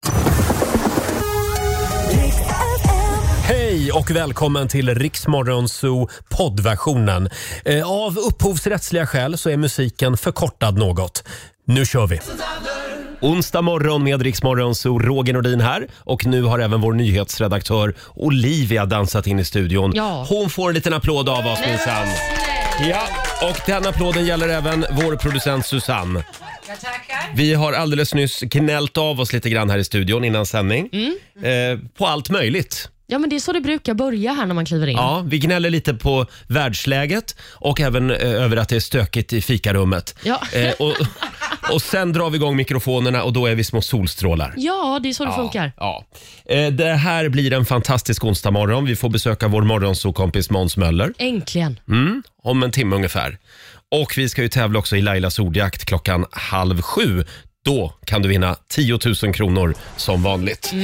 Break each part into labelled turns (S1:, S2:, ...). S1: Hej och välkommen till Riksmorgonzoo poddversionen. Eh, Av upphovsrättsliga skäl så är musiken förkortad något. Nu kör vi! Onsdag morgon med Riksmorgonzoo, Roger Nordin här och nu har även vår nyhetsredaktör Olivia dansat in i studion.
S2: Ja.
S1: Hon får en liten applåd av oss minsann. Ja, och den applåden gäller även vår producent Susanne.
S3: Jag tackar.
S1: Vi har alldeles nyss gnällt av oss lite grann här i studion innan sändning. Eh, på allt möjligt.
S2: Ja, men det är så det brukar börja här när man kliver in.
S1: Ja, vi gnäller lite på världsläget och även eh, över att det är stökigt i fikarummet.
S2: Ja.
S1: Eh, och, och sen drar vi igång mikrofonerna och då är vi små solstrålar.
S2: Ja, det är så det funkar.
S1: Ja. Eh, Det här blir en fantastisk onsdagmorgon. Vi får besöka vår morgonsokompis Måns Möller
S2: Äntligen.
S1: mm, om en timme ungefär. Och vi ska ju tävla också i Lailas ordjakt klockan halv sju. Då kan du vinna 10 000 kronor som vanligt.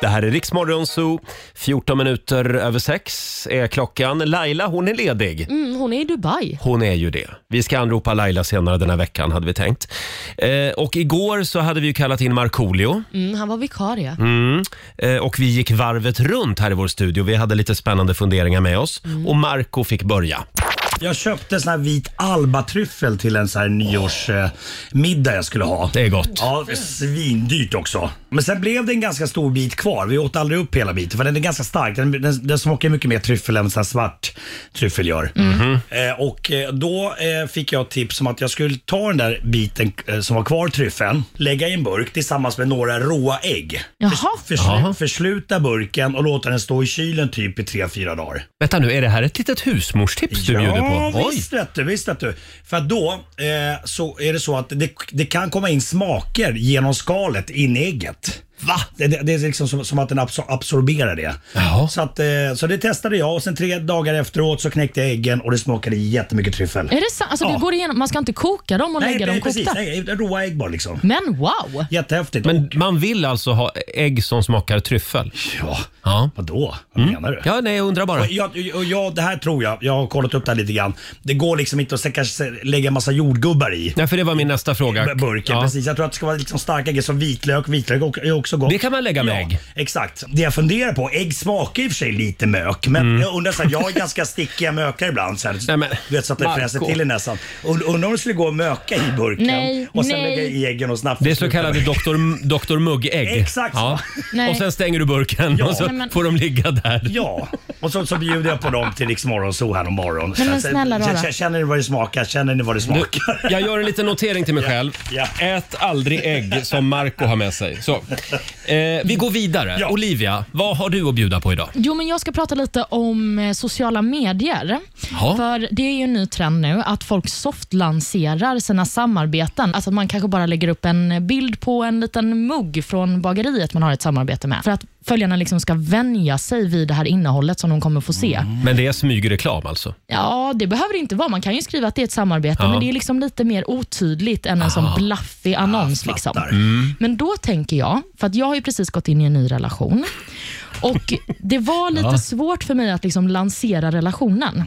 S1: Det här är Riksmorgon Zoo. 14 minuter över sex är klockan. Laila, hon är ledig.
S2: Mm, hon är i Dubai.
S1: Hon är ju det. Vi ska anropa Laila senare den här veckan, hade vi tänkt. Eh, och igår så hade vi ju kallat in Markoolio.
S2: Mm, han var vikarie.
S1: Mm. Eh, och vi gick varvet runt här i vår studio. Vi hade lite spännande funderingar med oss. Och Marco fick börja.
S4: Jag köpte sån här vit albatryffel till en sån här nyårsmiddag jag skulle ha.
S1: Det är gott.
S4: Ja, svindyrt också. Men sen blev det en ganska stor bit kvar. Vi åt aldrig upp hela biten för den är ganska stark. Den, den, den smakar mycket mer tryffel än sån här svart tryffel gör.
S1: Mhm.
S4: Eh, och eh, då eh, fick jag tips om att jag skulle ta den där biten eh, som var kvar tryffeln, lägga i en burk tillsammans med några råa ägg.
S2: Jaha.
S4: Förslu, försluta burken och låta den stå i kylen typ i 3-4 dagar.
S1: Vänta nu, är det här ett litet husmorstips du bjuder på?
S4: Ja, visst vet du, visst vet du. För att då eh, så är det så att det, det kan komma in smaker genom skalet in i ägget.
S1: Va?
S4: Det, det, det är liksom som, som att den absor- absorberar det.
S1: Jaha.
S4: Så, att, eh, så det testade jag och sen tre dagar efteråt så knäckte jag äggen och det smakade jättemycket tryffel.
S2: Är det sant? Alltså,
S4: Ja.
S2: det går igenom. Man ska inte koka dem och
S4: nej,
S2: lägga
S4: nej,
S2: dem
S4: precis.
S2: kokta.
S4: Nej, råa ägg bara liksom.
S2: Men wow!
S4: Jättehäftigt.
S1: Men man vill alltså ha ägg som smakar tryffel?
S4: ja,
S1: Ja. Mm.
S4: vadå? Vad menar du?
S1: Ja, nej, jag undrar bara.
S4: Och Jag, och jag, det här tror jag, jag har kollat upp det här lite grann. Det går liksom inte att se- kanske lägga massa jordgubbar i.
S1: Nej, för det var min nästa fråga.
S4: B- burken.
S1: Ja.
S4: Precis. Jag tror att det ska vara liksom starka ägg som vitlök. Vitlök och- är också gott.
S1: Det kan man lägga med
S4: ja,
S1: ägg.
S4: Exakt. Det jag funderar på, ägg smakar i och för sig lite mök, men jag undrar så här, jag är ganska stickiga mökar ibland. Så här,
S1: Mm. Nej, men,
S4: du vet så att det
S1: Marco.
S4: fräser till i näsan. Und- Undrar om det skulle gå att möka i burken
S2: Nej,
S4: och sen
S2: nej.
S4: lägga i äggen och snabbt
S1: Det är så kallade Dr. Dr. Mugg-ägg.
S4: Exakt så.
S2: Nej.
S1: Och sen stänger du burken
S4: Ja.
S1: och så
S2: Nej, men-
S1: får de ligga där.
S4: Ja, och så, så bjuder jag på dem till Rix Morgonzoo här om morgonen.
S2: Men, men
S4: Så-
S2: snälla
S4: så-
S2: rara.
S4: så- Känner ni vad det smakar? Känner ni vad det
S1: Du,
S4: smakar?
S1: jag gör en liten notering till mig själv.
S4: ja.
S1: Ät aldrig ägg som Marco har med sig. Så. Eh, vi går vidare.
S4: Ja.
S1: Olivia, vad har du att bjuda på idag?
S2: Jo, men jag ska prata lite om eh, sociala medier.
S1: Ja.
S2: För Det är ju en ny trend nu att folk softlanserar sina samarbeten. Alltså att Man kanske bara lägger upp en bild på en liten mugg från bageriet man har ett samarbete med. För att följarna liksom ska vänja sig vid det här innehållet som de kommer få se.
S4: Mm.
S1: Men det är smygreklam alltså?
S2: Ja, det behöver det inte vara. Man kan ju skriva att det är ett samarbete,
S1: Ja.
S2: men det är liksom lite mer otydligt än en sån blaffig annons. liksom. Men då tänker jag, för att jag har ju precis gått in i en ny relation och det var lite svårt för mig att liksom lansera relationen.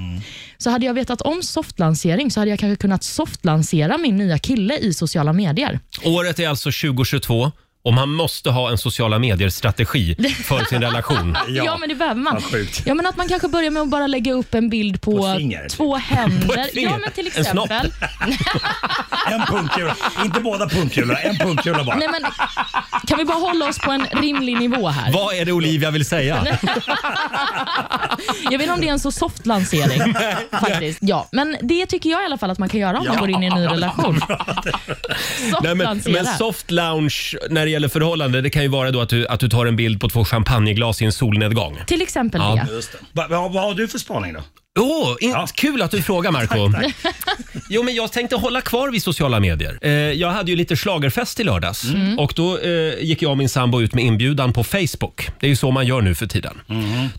S2: Så hade jag vetat om softlansering så hade jag kanske kunnat softlansera min nya kille i sociala medier.
S1: Året är alltså 2022 och man måste ha en sociala medier-strategi för sin relation.
S2: Ja, men det behöver man.
S4: vad sjukt.
S2: Ja, men att man kanske börjar med att bara lägga upp en bild på,
S4: På ett finger,
S2: två händer.
S1: finger.
S2: Ja, men till
S1: En snopp.
S2: exempel.
S4: En punkkula. Inte båda punkkulorna, en punkkula bara.
S2: Nej, men, kan vi bara hålla oss på en rimlig nivå här?
S1: Vad är det Olivia vill säga?
S2: Jag vet inte om det är en så soft lansering. faktiskt. Ja, men det tycker jag i alla fall att man kan göra om man
S4: Ja.
S2: går in i en ny relation. Soft
S1: Nej, men,
S2: lansera.
S1: men soft lounge när det gäller förhållande det kan ju vara då att du, att du tar en bild på två champagneglas i en solnedgång.
S2: Till exempel
S1: Ja.
S2: det.
S4: Just det. Va, va, vad har du för spaning då?
S1: Åh, in- Kul att du frågar Marco. Jo, men jag tänkte hålla kvar vid sociala medier. Eh, jag hade ju lite schlagerfest i lördags och då eh, gick jag och min sambo ut med inbjudan på Facebook. Det är ju så man gör nu för tiden.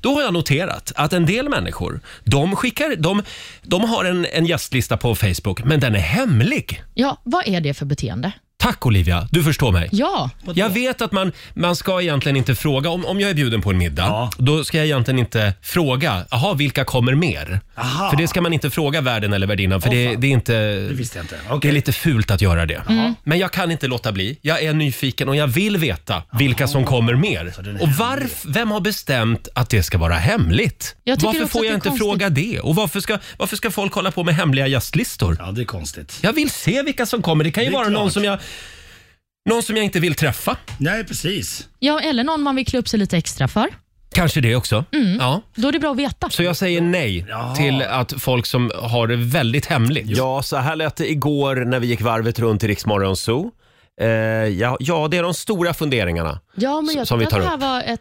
S1: Då har jag noterat att en del människor, de skickar, de, de har en, en gästlista på Facebook, men den är hemlig.
S2: Ja, vad är det för beteende?
S1: Tack Olivia, du förstår mig.
S3: Ja,
S1: Jag vet att man, man ska egentligen inte fråga, om, om jag är bjuden på en middag,
S4: Ja.
S1: då ska jag egentligen inte fråga, jaha vilka kommer mer?
S4: Aha.
S1: För det ska man inte fråga värden eller värdinnan för det,
S4: fan.
S1: det är inte...
S4: visste jag inte.
S1: Det är
S4: Okej.
S1: lite fult att göra det.
S3: Mm.
S1: Men jag kan inte låta bli. Jag är nyfiken och jag vill veta vilka som kommer mer.
S4: den är
S1: Och varf, vem har bestämt att det ska vara hemligt?
S3: Jag tycker
S1: Varför
S3: också
S1: får
S3: att
S1: jag
S3: det är
S1: inte
S3: konstigt.
S1: fråga det? Och varför ska, varför ska folk hålla på med hemliga gästlistor?
S4: Ja, det är konstigt.
S1: Jag vill se vilka som kommer. Det kan ju
S4: Det är
S1: vara någon
S4: klart.
S1: som, jag, någon som jag inte vill träffa.
S4: Nej, precis.
S3: ja eller någon man vill klä upp sig lite extra för.
S1: Kanske det också. Ja.
S3: Då är det bra att veta.
S1: Så jag säger nej
S4: Ja.
S1: till att folk som har det väldigt hemligt. Ja, så här lät det igår när vi gick varvet runt i Riksmorgon Zoo. Eh, ja, ja, det är de stora funderingarna.
S2: Ja, men
S1: S-
S2: jag
S1: som vi
S2: tycker att
S1: tar
S2: det här
S1: upp.
S2: var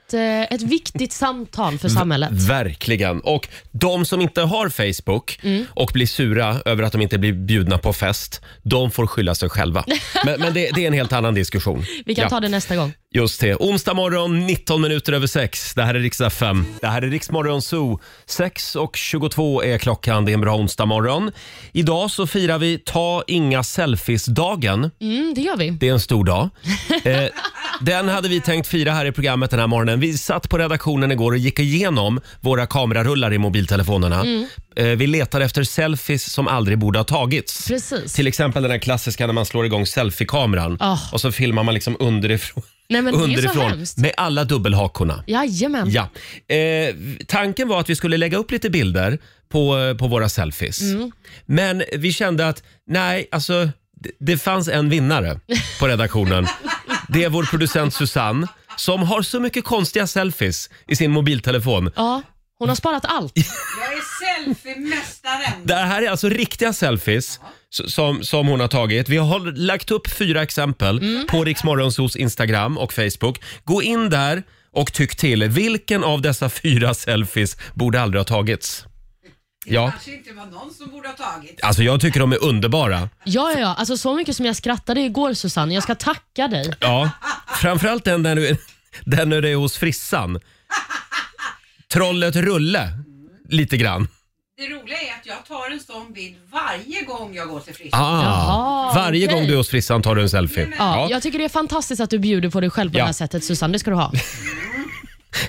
S2: ett, eh, ett viktigt samtal för samhället.
S1: Verkligen. Och de som inte har Facebook
S2: Mm.
S1: och blir sura över att de inte blir bjudna på fest, de får skylla sig själva. Men, men det, det är en helt annan diskussion.
S2: Vi kan
S1: Ja.
S2: ta det nästa gång.
S1: Just det. Onsdag morgon, 19 minuter över sex. Det här är riksdag 5. Det här är Riksmorgon Zoo. 6 och 22 är klockan. Det är en bra onsdag morgon. Idag så firar vi Ta inga selfies-dagen.
S2: Mm, det gör vi.
S1: Det är en stor dag. Eh, den hade vi tänkt fira här i programmet den här morgonen. Vi satt på redaktionen igår och gick igenom våra kamerarullar i mobiltelefonerna. Eh, vi letar efter selfies som aldrig borde ha tagits.
S2: Precis.
S1: Till exempel den här klassiska när man slår igång selfiekameran
S2: Ah.
S1: och så filmar man liksom underifrån.
S2: Nej, men det är ju så
S1: underifrån
S2: hemskt.
S1: med alla dubbelhakorna.
S2: Jajamän.
S1: Ja. Eh, tanken var att vi skulle lägga upp lite bilder på, eh, på våra selfies.
S2: Mm.
S1: Men vi kände att nej, alltså det, det fanns en vinnare på redaktionen. Det är vår producent Susanne som har så mycket konstiga selfies i sin mobiltelefon.
S2: Ja, hon har sparat allt.
S5: Jag är selfie-mästaren.
S1: Det här är alltså riktiga selfies s- som, som hon har tagit. Vi har lagt upp fyra exempel på Riksmorgonsos Instagram och Facebook. Gå in där och tyck till. Vilken av dessa fyra selfies borde aldrig ha tagits? Ja,
S5: Kanske inte var någon som borde ha tagit.
S1: alltså jag tycker de är underbara.
S2: Ja, ja, ja. Alltså, så mycket som jag skrattade igår Susanne. Jag ska tacka dig.
S1: Ja, framförallt den där du, den där du är hos frissan. Trollet Rulle, lite grann.
S5: Det roliga är att jag tar en sån bild varje gång jag går till frissan.
S1: Ah,
S2: Jaha,
S1: varje
S2: okej.
S1: gång du är hos frissan tar du en selfie.
S2: Ja, Jag tycker det är fantastiskt att du bjuder på dig själv på
S1: Ja.
S2: det här sättet Susanne. Det ska du ha.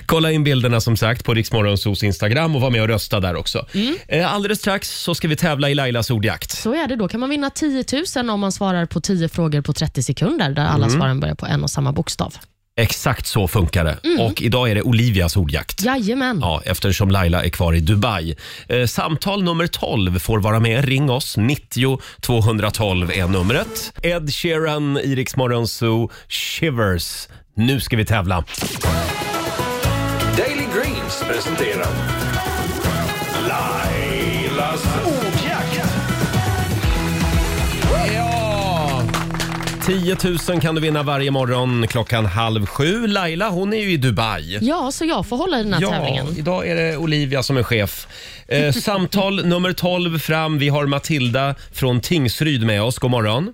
S1: Kolla in bilderna som sagt på Riksmorgonsos Instagram och var med och rösta där också. Eh, Alldeles strax så ska vi tävla i Lailas ordjakt.
S2: Så är det. Då kan man vinna 10 000 om man svarar på 10 frågor på 30 sekunder där alla
S1: Mm.
S2: svaren börjar på en och samma bokstav.
S1: Exakt så funkar det. Och idag är det Olivias ordjakt.
S2: Jajamän.
S1: Ja, eftersom Laila är kvar i Dubai. Eh, samtal nummer 12 får vara med. Ring oss. 90 212 är numret. Ed Sheeran, Iriks Morgonzoo, Shivers. Nu ska vi tävla.
S6: Daily Greens presenterar Lailas ordjakt.
S1: Ja! 10 000 kan du vinna varje morgon klockan halv sju. Laila, hon är ju i Dubai.
S2: Ja, så jag får hålla i den här tävlingen.
S1: idag är det Olivia som är chef. Eh, samtal nummer 12 fram. Vi har Matilda från Tingsryd med oss. God morgon.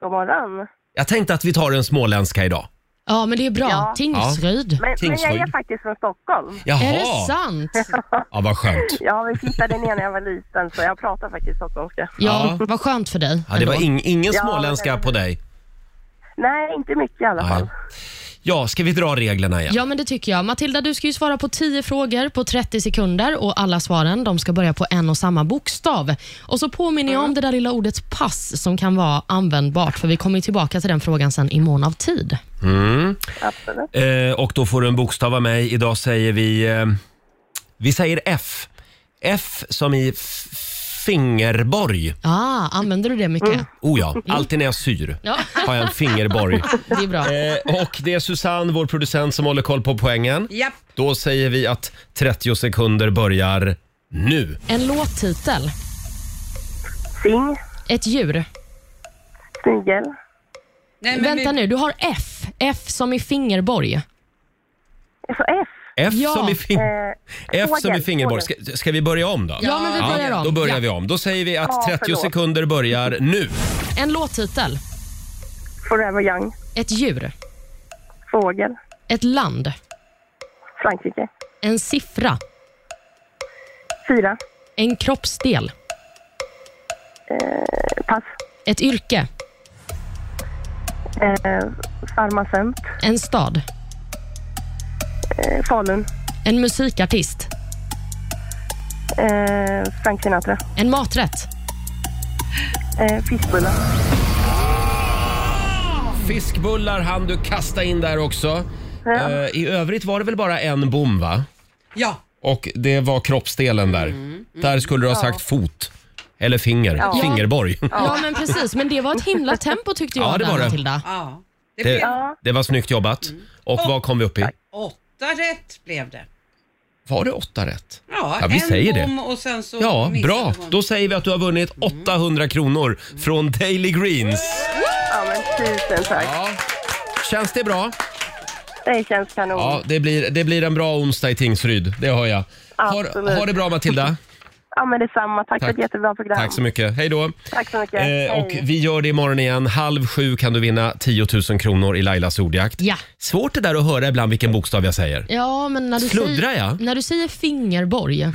S7: God morgon.
S1: Jag tänkte att vi tar en småländska idag.
S2: Ja, men det är bra.
S7: Ja.
S2: Tingsryd.
S7: Men, men jag
S1: Tingsryd.
S7: är faktiskt från Stockholm.
S1: Jaha.
S2: Är det sant?
S1: Ja, vad skönt.
S7: Ja, vi flyttade ner när jag var liten så jag pratar faktiskt stockholmska.
S2: Ja,
S1: Ja.
S2: vad skönt för dig.
S1: Ja, det var
S2: ändå.
S1: ing, ingen
S7: Ja,
S1: småländska
S7: men-
S1: på dig.
S7: Nej, inte mycket i alla fall.
S1: Nej. Ja, ska vi dra reglerna igen?
S2: Ja, men det tycker jag. Matilda, du ska ju svara på 10 frågor på 30 sekunder och alla svaren de ska börja på en och samma bokstav. Och så påminner jag om
S1: Mm.
S2: det där lilla ordet pass som kan vara användbart, för vi kommer ju tillbaka till den frågan sen i mån av tid.
S7: Absolut.
S1: Eh, och då får du en bokstav av mig. Idag säger vi... Eh, vi säger F. F som i f- fingerborg.
S2: Ah, använder du det mycket?
S1: Oh ja, alltid när jag syr
S2: Ja,
S1: har jag en fingerborg.
S2: det är bra.
S1: Eh, och det är Susanne, vår producent, som håller koll på poängen.
S5: Japp.
S1: Då säger vi att 30 sekunder börjar nu.
S2: En låttitel,
S7: Sing,
S2: ett djur.
S7: snigel,
S5: Nej,
S2: Vänta
S5: vi-
S2: nu, du har F. F som i fingerborg.
S7: så F.
S1: F
S2: Ja.
S1: som i fin-
S7: Eh,
S1: F som i
S7: fågel,
S1: fingerborg. Ska,
S7: fågel.
S1: ska vi börja om då?
S2: Ja, men vi börjar om.
S1: Då börjar
S2: Ja.
S1: vi om. Då säger vi att
S7: Ja,
S1: 30
S7: förlåt.
S1: sekunder börjar nu.
S2: En låttitel,
S7: Forever young,
S2: ett djur,
S7: fågel,
S2: ett land,
S7: Frankrike,
S2: en siffra,
S7: fyra,
S2: en kroppsdel,
S7: eh, pass,
S2: ett yrke,
S7: Eh, farmacent.
S2: En stad.
S7: Eh, Falun.
S2: En musikartist.
S7: Eh, Frank Sinatra.
S2: En maträtt.
S7: Eh, fiskbullar.
S1: Fiskbullar hann du kasta in där också.
S7: Ja.
S1: Eh, I övrigt var det väl bara en bom va?
S5: Ja.
S1: Och det var kroppsdelen där.
S2: Mm,
S1: Där skulle du ha sagt fot. Eller finger. Fingerborg.
S2: Ja, men precis. Men det var ett himla tempo tyckte jag.
S1: Ja, det
S2: där,
S1: var det.
S2: Matilda.
S5: ja. Det
S1: Det,
S5: blev
S1: det var snyggt jobbat.
S2: Mm.
S1: Och vad kom vi upp i?
S5: åtta rätt blev det.
S1: Var det åtta rätt?
S5: Ja,
S1: Ja, vi
S5: en
S1: säger det.
S5: bom och sen så
S1: Ja,
S5: missade
S1: bra.
S5: hon.
S1: Då säger vi att du har vunnit 800 kronor från Daily Greens.
S7: Ja, men tusen tack.
S1: Ja. Känns det bra?
S7: Det känns kanon.
S1: Ja,
S7: Ja,
S1: det blir, det blir en bra onsdag i Tingsryd. Det hör jag. Ha,
S7: Absolut.
S1: ha det bra Matilda.
S7: men detsamma. Tack, för ett jättebra program.
S1: Tack så mycket. Hej då.
S7: Tack så mycket.
S1: Eh,
S7: Hej.
S1: och vi gör det imorgon igen. Halv sju kan du vinna 10 000 kronor i Lailas ordjakt.
S2: Ja.
S1: Svårt det där att höra ibland vilken bokstav jag säger.
S2: Ja, men när du,
S1: Sluddrar
S2: säger,
S1: jag?
S2: när du säger fingerborg.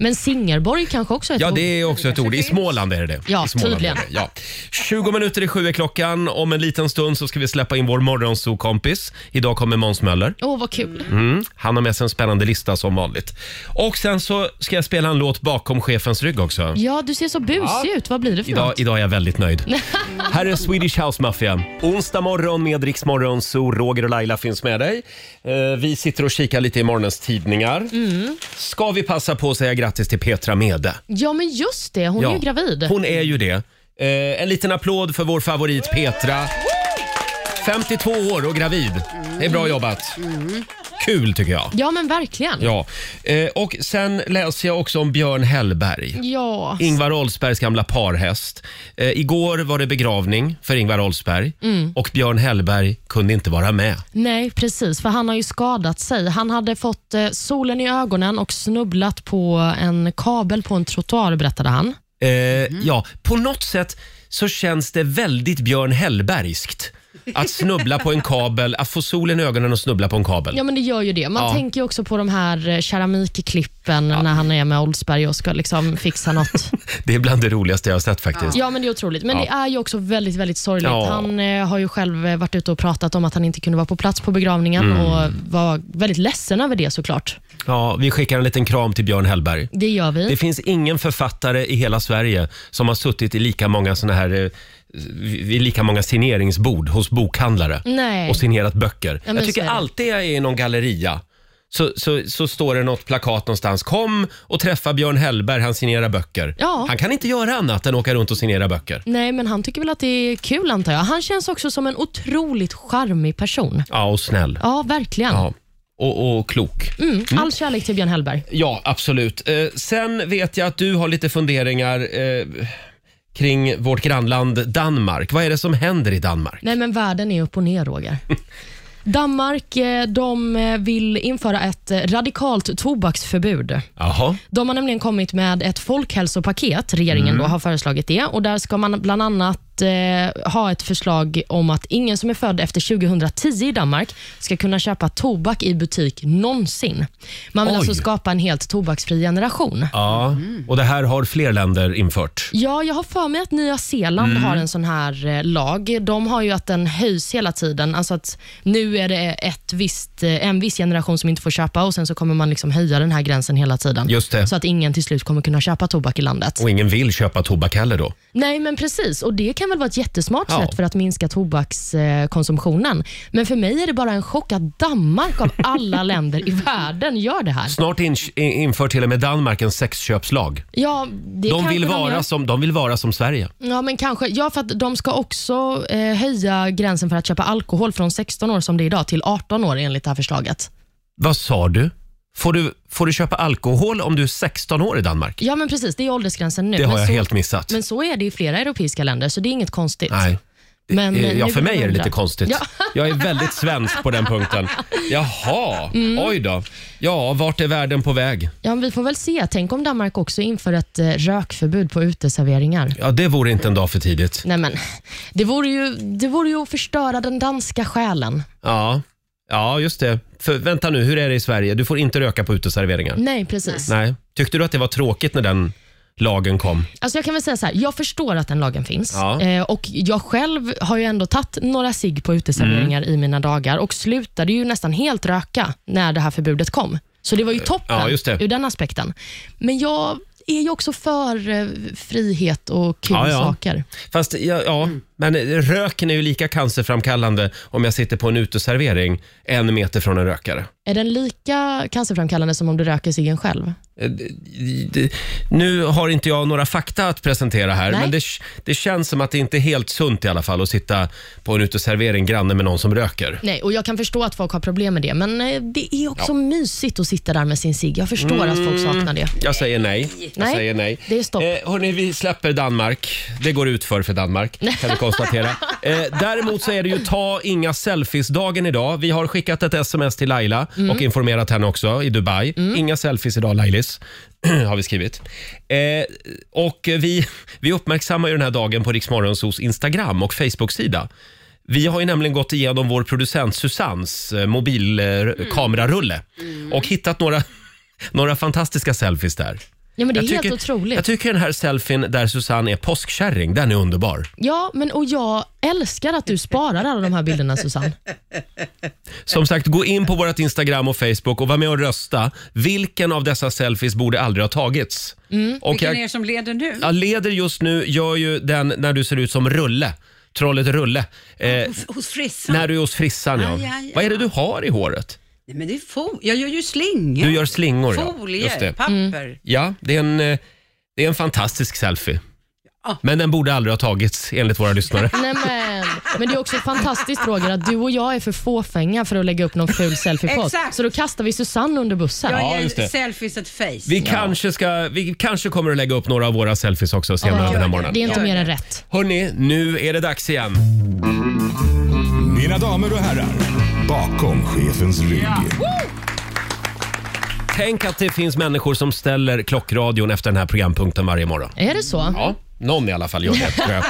S2: men singerborg kanske också är ett
S1: Ja,
S2: ord.
S1: det är också ett ord. I Småland är det det.
S2: Ja,
S1: I Småland
S2: tydligen.
S1: är det. Ja. 20 minuter i sju är klockan. Om en liten stund så ska vi släppa in vår morgonsokompis. Idag kommer Måns Möller.
S2: Åh, vad kul.
S1: Mm. Han har med sig en spännande lista som vanligt. Och sen så ska jag spela en låt bakom chefens rygg också.
S2: Ja, du ser så busig ut. Vad blir det för
S1: Idag,
S2: något?
S1: idag är jag väldigt nöjd. Här är Swedish House Mafia. Onsdag morgon med Rix Morgon, så Roger och Laila finns med dig. Eh, vi sitter och kikar lite i morgonens tidningar.
S2: Mm.
S1: Ska vi passa på att säga grattis till Petra Mede?
S2: Ja, men just det. Hon är ju gravid.
S1: Hon är ju det. Eh, en liten applåd för vår favorit Petra. 52 år och gravid. Det är bra
S2: Mm.
S1: jobbat. Kul tycker jag.
S2: Ja, men verkligen.
S1: Ja. Eh, och sen läser jag också om Björn Hellberg.
S2: Ja.
S1: Ingvar Oldsbergs gamla parhäst. Eh, igår var det begravning för Ingvar Oldsberg
S2: Mm.
S1: och Björn Hellberg kunde inte vara med. Eh,
S2: Nej, precis. För han har ju skadat sig. Han hade fått eh, solen i ögonen och snubblat på en kabel på en trottoar, berättade han.
S1: Eh,
S2: Mm-hmm.
S1: Ja, på något sätt så känns det väldigt Björn Hellbergskt. Att snubbla på en kabel, att få solen i ögonen och snubbla på en kabel.
S2: Ja, men det gör ju det. Man
S1: Ja.
S2: tänker ju också på de här eh, keramikklippen när han är med Oldsberg och ska liksom fixa något.
S1: Det är bland det roligaste jag har sett faktiskt.
S2: Ja, men det är otroligt. Men
S1: Ja.
S2: det är ju också väldigt, väldigt sorgligt.
S1: Ja.
S2: Han eh, har ju själv eh, varit ute och pratat om att han inte kunde vara på plats på begravningen
S1: Mm.
S2: och var väldigt ledsen över det såklart.
S1: Ja, vi skickar en liten kram till Björn Hellberg.
S2: Det gör vi.
S1: Det finns ingen författare i hela Sverige som har suttit i lika många såna här eh, vid lika många signeringsbord hos bokhandlare
S2: Nej.
S1: och signerat böcker.
S2: men
S1: jag
S2: så
S1: tycker
S2: är det.
S1: alltid jag är i någon galleria så, så, så står det något plakat någonstans. Kom och träffa Björn Hellberg, han signerar böcker.
S2: Ja.
S1: Han kan inte göra annat än åka runt och signera böcker.
S2: Nej, men han tycker väl att det är kul antar jag. Han känns också som en otroligt charmig person.
S1: Ja, och snäll.
S2: Ja, verkligen.
S1: Ja. Och, och klok.
S2: Mm. All kärlek till Björn Hellberg.
S1: Ja, absolut. Eh, sen vet jag att du har lite funderingar eh, kring vårt grannland Danmark. Vad är det som händer i Danmark?
S2: Nej, men världen är upp och ner, Roger. Danmark eh, de eh, vill införa ett eh, radikalt tobaksförbud.
S1: Jaha.
S2: De har nämligen kommit med ett folkhälsopaket, regeringen då har föreslagit det, och där ska man bland annat eh, ha ett förslag om att ingen som är född efter 2010 i Danmark ska kunna köpa tobak i butik någonsin. Man vill
S1: Oj.
S2: alltså skapa en helt tobaksfri generation.
S1: Ja, Mm. och det här har fler länder infört.
S2: Ja, jag har för mig att Nya Zeeland har en sån här eh, lag. De har ju att den höjs hela tiden. Alltså att nu är det ett visst, eh, en viss generation som inte får köpa och sen så kommer man liksom höja den här gränsen hela tiden.
S1: Just det.
S2: Så att ingen till slut kommer kunna köpa tobak i landet.
S1: Och ingen vill köpa tobak heller då.
S2: Nej, men precis. Och Det kan väl vara ett jättesmart
S1: Ja.
S2: sätt för att minska tobakskonsumtionen. Men för mig är det bara en chock att Danmark av alla länder i världen gör det här.
S1: Snart in, in, inför till och med Danmark en sexköpslag.
S2: Ja, det
S1: De
S2: kanske
S1: vill,
S2: gör.
S1: vara som, de vill vara som Sverige.
S2: Ja, men kanske. Ja, för att de ska också eh, höja gränsen för att köpa alkohol från 16 år som det är idag till 18 år enligt det här förslaget.
S1: Vad sa du? Får du, får du köpa alkohol om du är 16 år i Danmark?
S2: Ja, men precis. Det är åldersgränsen nu.
S1: Det
S2: men
S1: har jag
S2: så,
S1: helt missat.
S2: Men så är det i flera europeiska länder, så det är inget konstigt.
S1: Nej.
S2: Men,
S1: Eh,
S2: eh,
S1: Ja,
S2: nu
S1: för mig
S2: vill
S1: är
S2: jag
S1: det lite
S2: undra.
S1: konstigt.
S2: Ja.
S1: Jag är väldigt svensk på den punkten. Jaha,
S2: Mm.
S1: oj då. Ja, vart är världen på väg?
S2: Ja, men vi får väl se. Tänk om Danmark också inför ett eh, rökförbud på uteserveringar.
S1: Ja, det vore inte en dag för tidigt.
S2: Nej, men, det, vore ju, det vore ju att förstöra den danska själen.
S1: Ja, ja just det. För, vänta
S2: Mm.
S1: nu, hur är det i Sverige? Du får inte röka på uteserveringar.
S2: Nej, precis.
S1: Nej. Tyckte du att det var tråkigt när den lagen kom?
S2: Alltså jag kan väl säga så här, jag förstår att den lagen finns.
S1: Ja.
S2: Eh, och Jag själv har ju ändå tagit några cigg på uteserveringar
S1: Mm.
S2: i mina dagar och slutade ju nästan helt röka när det här förbudet kom. Så det var ju toppen
S1: Eh, Ja, just det.
S2: ur den aspekten. Men jag är ju också för eh, frihet och kul
S1: Ja, ja.
S2: saker.
S1: Fast ja, ja,
S2: Mm.
S1: men röken är ju lika cancerframkallande om jag sitter på en uteservering en meter från en rökare.
S2: Är den lika cancerframkallande som om du röker ciggen själv?
S1: Eh, d- d- Nu har inte jag några fakta att presentera här,
S2: Nej.
S1: men det, det känns som att det inte är helt sunt i alla fall att sitta på en uteservering granne med någon som röker.
S2: Nej, och jag kan förstå att folk har problem med det, men eh, det är också mysigt att sitta där med sin cigg. Jag förstår
S1: Mm.
S2: att folk saknar det.
S1: Jag säger nej. Jag
S2: Nej,
S1: säger nej.
S2: det är stopp.
S1: Eh, hörni, vi släpper Danmark. Det går ut för för Danmark, kan vi konstatera. Eh, däremot så är det ju ta inga selfies-dagen idag. Vi har skickat ett sms till Laila
S2: Mm.
S1: och informerat henne också i Dubai. Inga selfies idag, Lailis. har vi skrivit. Eh, och vi, vi uppmärksammar ju den här dagen på Riksmorgonsos Instagram och Facebook-sida. Vi har ju nämligen gått igenom vår producent Susans eh,
S2: Mm.
S1: mobilkamerarulle och hittat några, några fantastiska selfies där.
S2: Ja, men det är
S1: Jag
S2: helt otroligt.
S1: Jag tycker den här selfien där Susanne är påskkärring, den är underbar.
S2: Ja, men och jag älskar att du sparar alla de här bilderna Susanne.
S1: Som sagt, gå in på vårt Instagram och Facebook och var med och rösta. Vilken av dessa selfies borde aldrig ha tagits? Och
S5: Mm, Vilken är
S1: jag,
S5: det som leder nu?
S1: jag leder just nu, gör ju den när du ser ut som Rulle. Trollet Rulle. Eh,
S5: Hos- Hos frissan?
S1: när du är hos frissan ja.
S5: Aj, aj,
S1: Vad är det du har i håret?
S5: Nej, men det är fo- jag gör ju slingor.
S1: Du gör slingor ja.
S5: Folier,
S1: Just det. Mm.
S5: papper.
S1: Ja, det är en, eh, det är en fantastisk selfie.
S5: Ja.
S1: Men den borde aldrig ha tagits enligt våra lyssnare.
S2: Nej, men, men det är också fantastiskt Roger att du och jag är för fåfänga för att lägga upp någon ful selfie på oss.
S5: Exakt.
S2: Så då kastar vi Susanne under bussen.
S5: Jag
S1: Ja,
S5: ger
S1: just det.
S5: selfies ett face.
S1: Vi, kanske ska, vi kanske kommer att lägga upp några av våra selfies också senare den här morgonen.
S2: Det är inte
S5: Ja.
S2: mer än rätt.
S1: Hörni, nu är det dags igen.
S8: Mina damer och herrar, bakom chefens rygg.
S1: Tänk att det finns människor som ställer klockradion efter den här programpunkten varje morgon.
S2: Är det så?
S1: Ja, någon i alla fall gör det tror jag.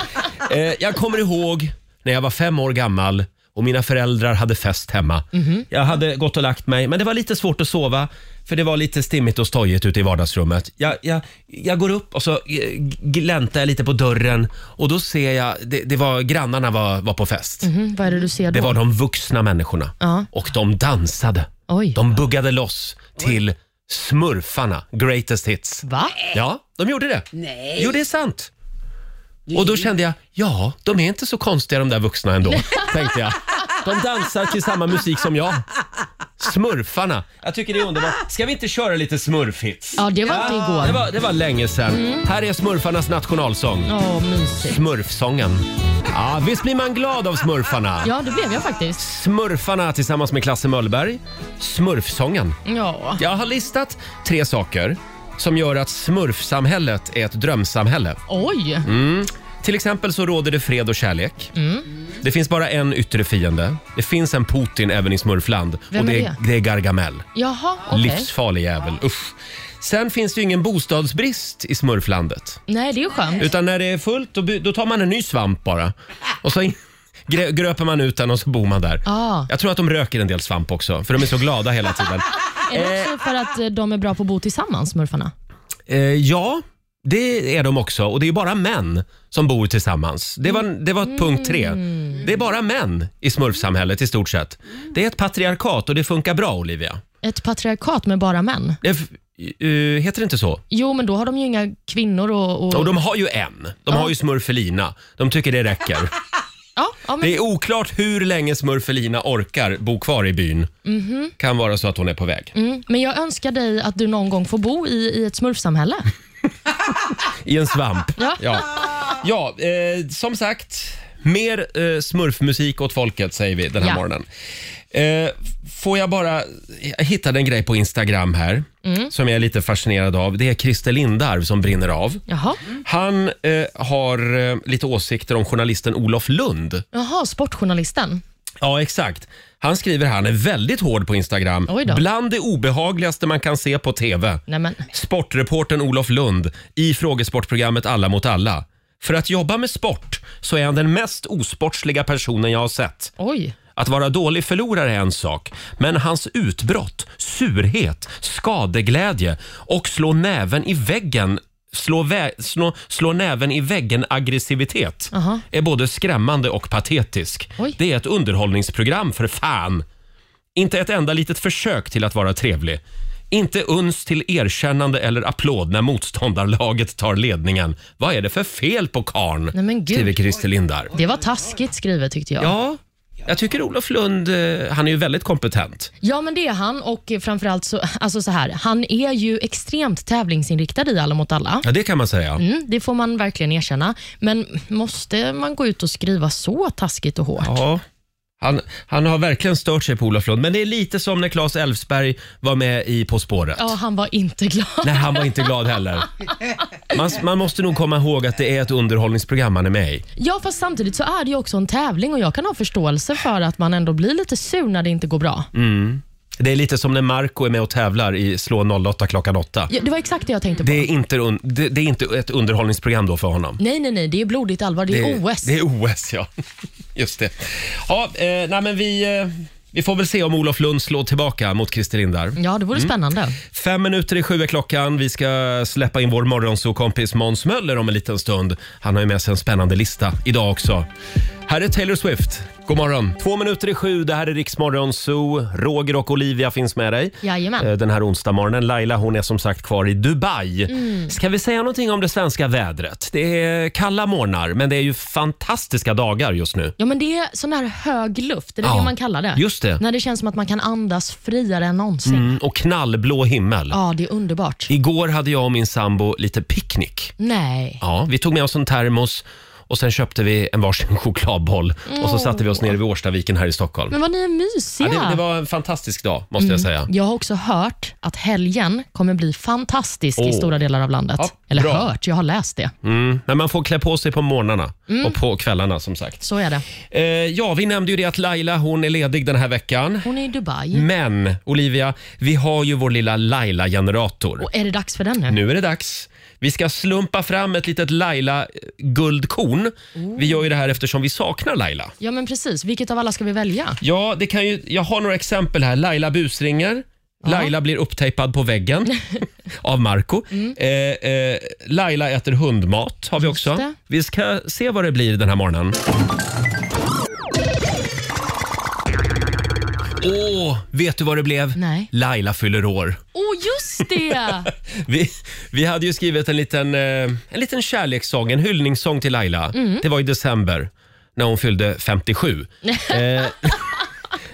S1: Eh, jag kommer ihåg när jag var fem år gammal och mina föräldrar hade fest hemma.
S2: Mhm.
S1: Jag hade gått och lagt mig, men det var lite svårt att sova för det var lite stimmigt och stojigt ute i vardagsrummet. Jag, jag, jag går upp och så eh, gläntar jag lite på dörren och då ser jag, det, det var, grannarna var, var på fest.
S2: Mm, vad är det du ser då?
S1: Det var de vuxna människorna.
S2: Ja.
S1: Och de dansade.
S2: Oj.
S1: De buggade loss till Smurfarna, Greatest Hits.
S2: Va?
S1: Ja, de gjorde det.
S5: Nej.
S1: Jo, det är sant. Och då kände jag, ja, de är inte så konstiga de där vuxna ändå, tänkte jag. De dansar till samma musik som jag. Smurfarna. Jag tycker det är underbart. Ska vi inte köra lite smurfhits? Ah,
S2: Ja, det var inte
S1: Det
S2: igår. Mm.
S1: var, det var länge sedan. Här är smurfarnas nationalsång.
S2: Åh, mysigt.
S1: Smurfsången. Ja, visst blir man glad av smurfarna?
S2: Ja, det blev jag faktiskt.
S1: Smurfarna tillsammans med Klasse Möllberg. Smurfsången.
S2: Ja.
S1: Jag har listat tre saker som gör att smurfsamhället är ett drömsamhälle.
S2: Oj.
S1: Mm. Till exempel så råder det fred och kärlek.
S2: Mm.
S1: Det finns bara en yttre fiende. Det finns en Putin även i smurfland.
S2: Vem
S1: och det
S2: är
S1: är,
S2: det?
S1: det är Gargamel.
S2: Jaha, okej.
S1: Livsfarlig jävel. Usch. Sen finns det ju ingen bostadsbrist i smurflandet.
S2: Nej, det är ju skönt.
S1: Utan när det är fullt då, by- då tar man en ny svamp bara. Och så in- grö- gröper man ut den och så bor man där.
S2: Ah.
S1: Jag tror att de röker en del svamp också, för de är så glada hela tiden.
S2: Är det också för att eh, de är bra på att bo tillsammans, smurfarna?
S1: Eh, ja, det är de också. Och det är bara män som bor tillsammans. Det var, det var punkt tre. Det är bara män i smurfsamhället i stort sett. Det är ett patriarkat och det funkar bra, Olivia.
S2: Ett patriarkat med bara män?
S1: Det, f- eh, heter det inte så?
S2: Jo, men då har de ju inga kvinnor och... och...
S1: Och de har ju en. De har ju Smurfelina. De tycker det räcker.
S2: Ja, ja, men...
S1: Det är oklart hur länge Smurfelina orkar bo kvar i byn. Kan vara så att hon är på väg.
S2: Mm, men jag önskar dig att du någon gång får bo i, i ett smurfsamhälle.
S1: I en svamp.
S2: Ja.
S1: Ja, ja eh, som sagt. Mer eh, smurfmusik åt folket säger vi den här
S2: Ja.
S1: morgonen. Eh, får jag bara... Jag hittade en grej på Instagram här
S2: Mm.
S1: som jag är lite fascinerad av. Det är Christer Lindarw som brinner av.
S2: Jaha,
S1: Han eh, har eh, lite åsikter om journalisten Olof Lund.
S2: Jaha sportjournalisten.
S1: Ja, exakt. Han skriver här, han är väldigt hård på Instagram.
S2: Oj då.
S1: Bland det obehagligaste man kan se på TV.
S2: Nej, men.
S1: Sportreportern Olof Lund i frågesportprogrammet Alla mot alla. För att jobba med sport så är han den mest osportsliga personen jag har sett.
S2: Oj.
S1: Att vara dålig förlorare är en sak, men hans utbrott, surhet, skadeglädje och slå näven i väggen slå, vä- slå, slå näven i väggen-aggressivitet
S2: Aha.
S1: är både skrämmande och patetisk.
S2: Oj.
S1: Det är ett underhållningsprogram, för fan! Inte ett enda litet försök till att vara trevlig. Inte uns till erkännande eller applåd när motståndarlaget tar ledningen. Vad är det för fel på karn?
S2: Nej, men gud.
S1: skriver Christer Lindar.
S2: Det var taskigt skrivet tyckte jag.
S1: Ja, jag tycker Olof Lund, eh, han är ju väldigt kompetent.
S2: Ja, men det är han. Och framförallt så, alltså så här, han är ju extremt tävlingsinriktad i Alla mot alla.
S1: Ja, det kan man säga.
S2: Mm, det får man verkligen erkänna. Men måste man gå ut och skriva så taskigt och hårt?
S1: Ja. Han, han har verkligen stört sig på Olof Lund, men det är lite som när Claes Elfsberg var med i På spåret.
S2: Ja, han var inte glad.
S1: Nej, han var inte glad heller. Man, man måste nog komma ihåg att det är ett underhållningsprogram man är med i.
S2: Ja, fast samtidigt så är det ju också en tävling och jag kan ha förståelse för att man ändå blir lite sur när det inte går bra.
S1: Mm. Det är lite som när Marco är med och tävlar i Slå 08 klockan 8.
S2: Ja, det var exakt det jag tänkte på.
S1: Det är inte, un- det, det är inte ett underhållningsprogram då för honom.
S2: Nej, nej, nej. Det är blodigt allvar. Det är OS.
S1: Det är OS, ja. Just det. Ja, eh, nej, men vi, eh, vi får väl se om Olof Lund slår tillbaka mot Christer Lindar.
S2: Ja, det vore
S1: Mm.
S2: spännande.
S1: Fem minuter i sju är klockan. Vi ska släppa in vår morgonsokompis Måns Möller om en liten stund. Han har ju med sig en spännande lista idag också. Här är Taylor Swift. God morgon! Två minuter i sju, det här är Rix Morgonzoo. Roger och Olivia finns med dig
S2: Jajamän.
S1: eh, den här onsdag morgonen. Laila hon är som sagt kvar i Dubai.
S2: Mm.
S1: Ska vi säga någonting om det svenska vädret? Det är kalla morgnar, men det är ju fantastiska dagar just nu.
S2: Ja, men det är sån här hög luft. Det är
S1: Ja,
S2: det man kallar det.
S1: just det.
S2: När det känns som att man kan andas friare än någonsin.
S1: Mm, och knallblå himmel.
S2: Ja, det är underbart.
S1: Igår hade jag och min sambo lite picknick.
S2: Nej.
S1: Ja, vi tog med oss en termos och sen köpte vi en varsin chokladboll och så satte vi oss nere vid Årstaviken här i Stockholm.
S2: Men vad ni är
S1: Ja,
S2: mysiga.
S1: det, det var en fantastisk dag, måste jag säga.
S2: Jag har också hört att helgen kommer bli fantastisk i
S1: Åh.
S2: stora delar av landet.
S1: Ja,
S2: Eller
S1: bra.
S2: hört, jag har läst det.
S1: Mm. Men man får klä på sig på morgnarna och på kvällarna som sagt.
S2: Så är det.
S1: Eh, ja, vi nämnde ju det att Laila, hon är ledig den här veckan.
S2: Hon är i Dubai.
S1: Men Olivia, vi har ju vår lilla Laila-generator.
S2: Och är det dags för den nu?
S1: Nu är det dags. Vi ska slumpa fram ett litet Laila-guldkorn. Vi gör ju det här eftersom vi saknar Laila.
S2: Ja, men precis. Vilket av alla ska vi välja?
S1: Ja, det kan ju, jag har några exempel här. Laila busringer. Laila blir upptejpad på väggen av Marco.
S2: Mm.
S1: Eh, eh, Laila äter hundmat har vi också.
S2: det.
S1: Vi ska se vad det blir den här morgonen. Åh, vet du vad det blev?
S2: Nej.
S1: Laila fyller år.
S2: Åh, oh, just det!
S1: Vi, vi hade ju skrivit en liten, eh, en liten kärlekssång, en hyllningssång till Laila. Det var i december när hon fyllde 57. eh,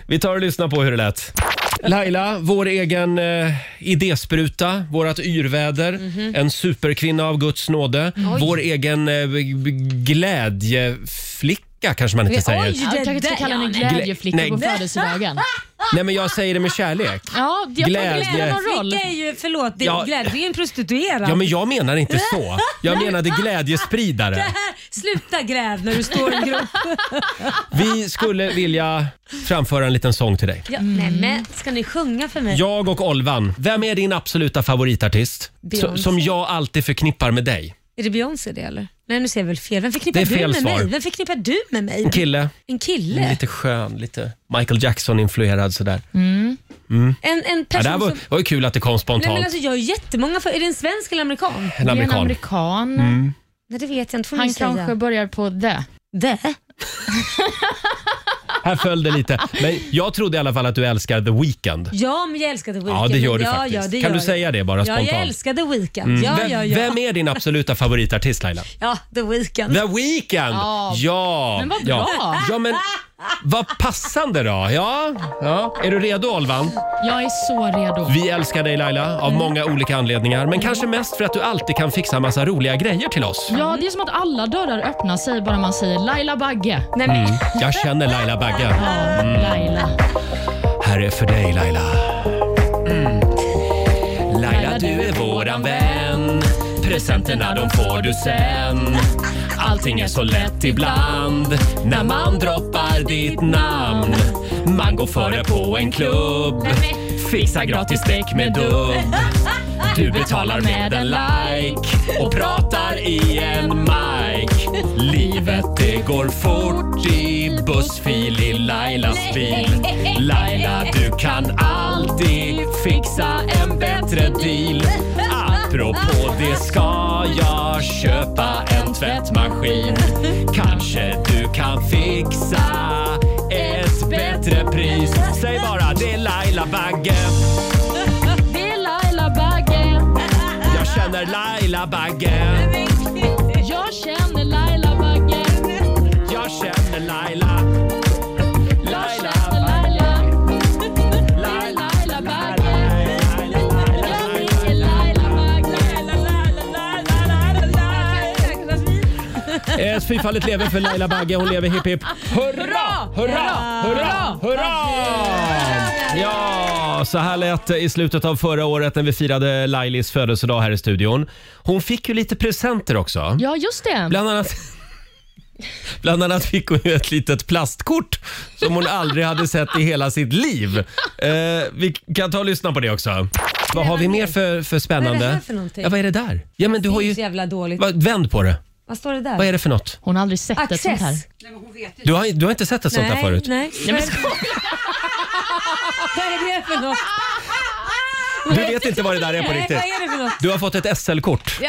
S1: vi tar och lyssnar på hur det lät. Laila, vår egen eh, idéspruta, vårt yrväder, en superkvinna av Guds nåde, vår egen eh, glädjeflicka kanske man inte säger.
S2: Oj, det kanske ska kalla henne
S1: Nej.
S2: glädjeflicka på födelsedagen.
S1: Nej men jag säger det med kärlek.
S2: Ja, jag
S1: Glädje.
S2: glädje. Det spelar någon roll.
S9: Flicka är ju, förlåt, det är
S1: Eh, Ja.
S9: glädje det är ju en prostituerad.
S1: Ja men jag menar inte så. Jag menade glädjespridare.
S9: Sluta gräv när du står i en grupp.
S1: Vi skulle vilja framföra en liten sång till dig.
S9: Ja, Nej men, ska ni sjunga för mig?
S1: Jag och Olvan, vem är din absoluta favoritartist? Som,
S9: Beyoncé.
S1: som jag alltid förknippar med dig.
S9: Är det Beyoncé det eller? Nej nu ser jag väl fel. Vem förknippar
S1: Det är fel
S9: du med
S1: svar. Mm.
S9: mig? Vem förknippar du med mig?
S1: En kille,
S9: En kille?
S1: lite skön, lite Michael Jackson-influerad sådär.
S9: En, en
S1: Ja,
S9: person
S1: det här var,
S9: som...
S1: var ju kul att det kom
S9: Nej, men
S1: spontant.
S9: alltså, jag har jättemånga för... Är det en svensk eller amerikan?
S1: En
S2: Det är en
S1: amerikan.
S2: amerikan.
S9: Nej det vet jag inte, får ni
S2: Han
S9: säga.
S2: kanske börjar på det.
S9: Det?
S1: Här föll det lite. Men jag trodde i alla fall att du älskar The Weeknd.
S9: Ja men jag älskar The Weeknd.
S1: Ja, det gör du
S9: ja,
S1: faktiskt.
S9: Ja, det
S1: kan
S9: gör
S1: du
S9: jag.
S1: säga det bara
S9: Ja, jag
S1: spontant? Mm.
S9: älskar The Weeknd. Ja,
S1: vem,
S9: ja, ja.
S1: vem är din absoluta favoritartist Laila?
S9: Ja, The Weeknd.
S1: The Weeknd!
S2: Ja.
S1: Ja!
S2: Men vad
S1: Ja.
S2: bra.
S1: ja, men vad passande då. Ja. ja. Är du redo Olvan?
S2: Jag är så redo.
S1: Vi älskar dig Laila av många olika anledningar men kanske mest för att du alltid kan fixa massa roliga grejer till oss.
S2: Ja, det är som att alla dörrar öppnar sig bara man säger Laila Bagge.
S9: Nej,
S1: Mm.
S9: men...
S1: Jag känner Laila Bagge.
S2: Ja,
S3: Mm.
S2: Laila.
S1: Här är för dig Laila. Mm. Laila du är våran vän. Presenterna de får du sen. Allting är så lätt ibland när man droppar ditt namn. Man går före på en klubb. Fixar gratis däck med dubb. Du betalar med en like och pratar i en mic. Livet det går fort i bussfil i Lailas bil. Laila du kan alltid fixa en bättre deal. Att Metro på det ska jag köpa en tvättmaskin. Kanske du kan fixa ett bättre pris. Säg bara det är Laila Bagge.
S3: Det är Laila Bagge.
S1: Jag känner Laila Bagge.
S3: Jag känner Laila Bagge.
S1: Jag känner Laila. Laila Bagge.
S3: Laila.
S1: Laila,
S3: Laila Bagge.
S1: Laila, Laila,
S3: Jag
S1: Laila.
S3: ringer Laila Bagge.
S1: Ett fyrfaldigt Eh, lever för Laila Bagge. Hon lever hipp hipp. Hurra! Hurra! Hurra! Hurra! Ja, så här lät det i slutet av förra året när vi firade Lailis födelsedag här i studion. Hon fick ju lite presenter också.
S3: Ja, just det.
S1: Bland annat... Bland annat fick hon ju ett litet plastkort som hon aldrig hade sett i hela sitt liv. Eh, vi kan ta och lyssna på det också. Vad har vi mer för, för spännande?
S9: här för någonting?
S1: Ja, vad är det där? Ja, men du har
S9: Det är
S1: ju...
S9: så jävla dåligt.
S1: Va, vänd på det.
S9: Vad står det där?
S1: Vad är det för något?
S3: Hon har aldrig sett ett sånt här.
S9: Access?
S5: Nej, men hon vet ju.
S1: Du har, du har inte sett ett sånt här förut?
S9: Nej, nej. Vad är det för något?
S1: Du vet inte vad det där är
S9: Nej,
S1: på
S9: vad
S1: riktigt?
S9: är det för något?
S1: Du har fått ett SL-kort.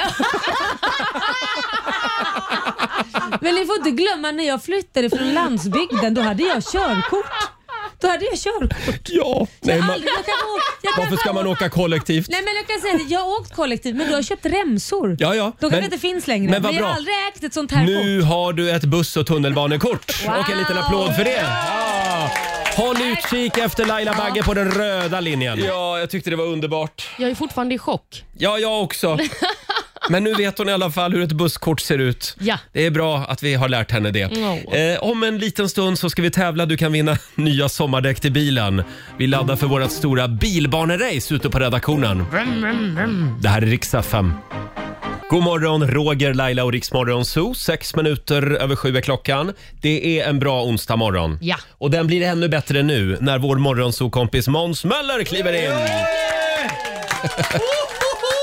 S9: Men ni får inte glömma när jag flyttade från landsbygden, då hade jag körkort. Då hade jag körkort.
S1: Ja! Nej, man,
S9: Aldrig, jag kan ha åkt- jag kan
S1: varför ska
S9: ha
S1: man
S9: åkt-
S1: åka kollektivt?
S9: Nej men jag kan säga det, jag har åkt kollektivt men du har köpt remsor.
S1: Ja, ja,
S9: Då kanske
S1: men-
S9: det inte finns längre.
S1: men vad
S9: jag
S1: bra.
S9: har aldrig ägt ett sånt här kort.
S1: Nu har du ett buss och tunnelbanekort.
S9: Wow.
S1: Och en liten applåd för det. Ja. Håll utkik efter Laila Bagge på den röda linjen. Ja, jag tyckte det var underbart.
S3: Jag är fortfarande i chock.
S1: Ja, jag också. Men nu vet hon i alla fall hur ett busskort ser ut.
S3: Ja.
S1: Det är bra att vi har lärt henne det.
S3: Ja.
S1: Eh, om en liten stund så ska vi tävla. Du kan vinna nya sommardäck till bilen. Vi laddar för vårt stora bilbanerace ute på redaktionen. Det här är riksdag 5. God morgon, Roger, Laila och Riksmorgon Zoo. Sex minuter över sju är klockan. Det är en bra onsdag morgon.
S3: Ja.
S1: Och den blir ännu bättre nu när vår morgonzoo-kompis Måns Möller kliver in.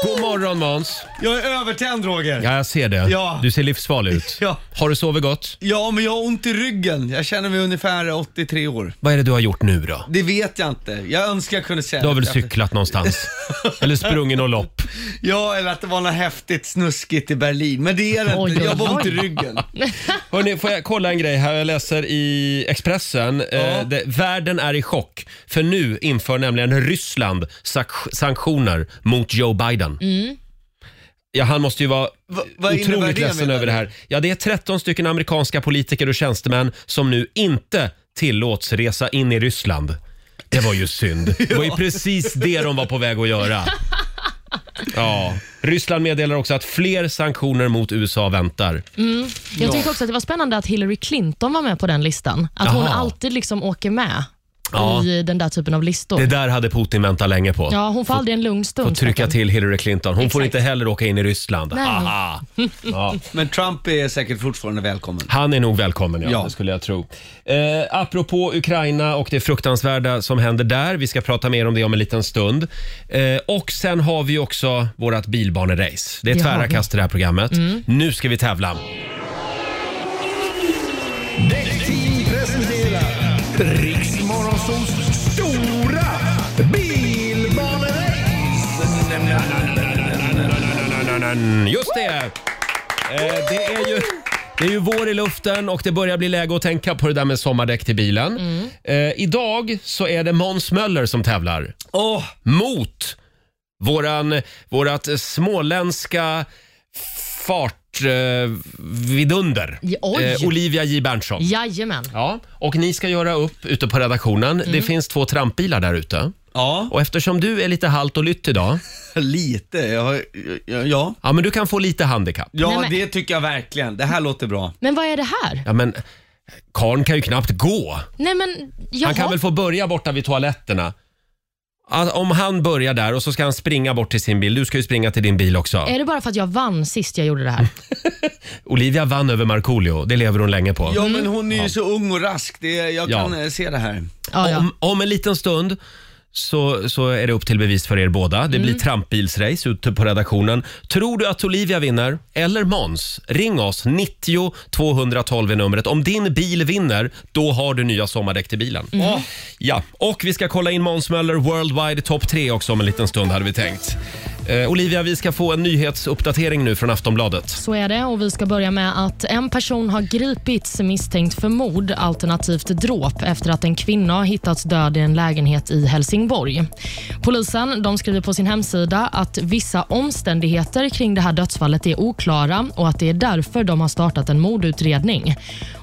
S1: God morgon Måns.
S10: Jag är övertänd Roger. Ja.
S1: Ja, jag ser det.
S10: Ja.
S1: Du ser livsfarlig ut.
S10: Ja.
S1: Har du sovit gott?
S10: men jag har ont i ryggen. Jag känner mig ungefär 83 år.
S1: Vad är det du har gjort nu då?
S10: Det vet jag inte. Jag önskar jag kunde säga
S1: Du har väl
S10: det.
S1: cyklat någonstans? Eller sprungit något lopp?
S10: Ja, eller att det var något häftigt snuskigt i Berlin. Men det är det
S3: Oj,
S10: inte.
S3: oj,
S10: Jag har bara ont i
S3: oj.
S10: ryggen.
S1: Hörrni, får jag kolla en grej här? Jag läser i Expressen. Eh, det, världen är i chock, för nu inför nämligen Ryssland sak- sanktioner mot Joe Biden. Ja, han måste ju vara
S10: Mm. Va- vad innebär
S1: otroligt
S10: det,
S1: ledsen
S10: menar
S1: över det här. Ja, det är 13 stycken amerikanska politiker och tjänstemän som nu inte tillåts resa in i Ryssland. Det var ju synd. Det var ju precis det de var på väg att göra. Ja. Ryssland meddelar också att fler sanktioner mot USA väntar.
S3: Jag tyckte också att det var spännande att Hillary Clinton var med på den listan. Att hon
S1: Jaha.
S3: alltid liksom åker med
S1: Ja.
S3: i den där typen av listor.
S1: Det där hade Putin väntat länge på.
S3: Ja, hon får aldrig en lugn stund.
S1: Och trycka
S3: stackarn.
S1: till Hillary Clinton. Hon får
S3: Exakt.
S1: inte heller åka in i Ryssland.
S3: Nej.
S1: Haha. Ja.
S10: Men Trump är säkert fortfarande välkommen.
S1: Han är nog välkommen, ja.
S10: Ja.
S1: Det skulle jag tro. Eh, apropå Ukraina och det fruktansvärda som händer där. Vi ska prata mer om det om en liten stund. Eh, och sen har vi också vårt bilbanerace. Det är
S3: Det har
S1: tvära
S3: vi. Mm.
S1: kast i det här programmet. Nu ska vi tävla.
S6: Däckteam presenterar Riksmorgonsols stora bilbanerace.
S1: Just det! Eh, det, är ju, det är ju vår i luften och det börjar bli läge att tänka på det där med sommardäck till bilen. Eh, idag så är det Måns Möller som tävlar
S10: Åh,
S1: mot våran, vårat småländska fart eh, vidunder
S3: Ja, oj.
S1: eh, Olivia J Berntsson.
S3: Jajamän.
S1: Ja, och ni ska göra upp ute på redaktionen. Det finns två trampbilar där ute.
S10: ja.
S1: Och eftersom du är lite halt och lytt idag,
S10: Lite. Jag, har- ja, ja.
S1: ja men du kan få lite handikapp.
S10: Ja,
S3: Nej, men-
S10: det tycker jag verkligen. Det här låter bra.
S3: Men vad är det här?
S1: Ja men, karn kan ju knappt gå.
S3: Nej men, jaha.
S1: Han kan väl få börja borta vid toaletterna. Att om han börjar där och så ska han springa bort till sin bil. Du ska ju springa till din bil också.
S3: Är det bara för att jag vann sist jag gjorde det här?
S1: Olivia vann över Markoolio. Det lever hon länge på.
S10: Ja, men hon är ju så ung och rask. Det, jag
S1: Ja.
S10: kan eh, se det här.
S3: Ja, ja.
S1: Om, om en liten stund så, så är det upp till bevis för er båda. Det
S3: Mm.
S1: blir trampbilsrace ute på redaktionen. Tror du att Olivia vinner eller Måns? Ring oss. 90 212 är numret. Om din bil vinner, då har du nya sommardäck till bilen.
S3: Mm.
S1: Ja, och vi ska kolla in Måns Möller Worldwide Top 3 också om en liten stund hade vi tänkt. Eh, Olivia, vi ska få en nyhetsuppdatering nu från Aftonbladet.
S2: Så är det och vi ska börja med att en person har gripits misstänkt för mord alternativt dråp efter att en kvinna har hittats död i en lägenhet i Helsingborg. Polisen de skriver på sin hemsida att vissa omständigheter kring det här dödsfallet är oklara och att det är därför de har startat en mordutredning.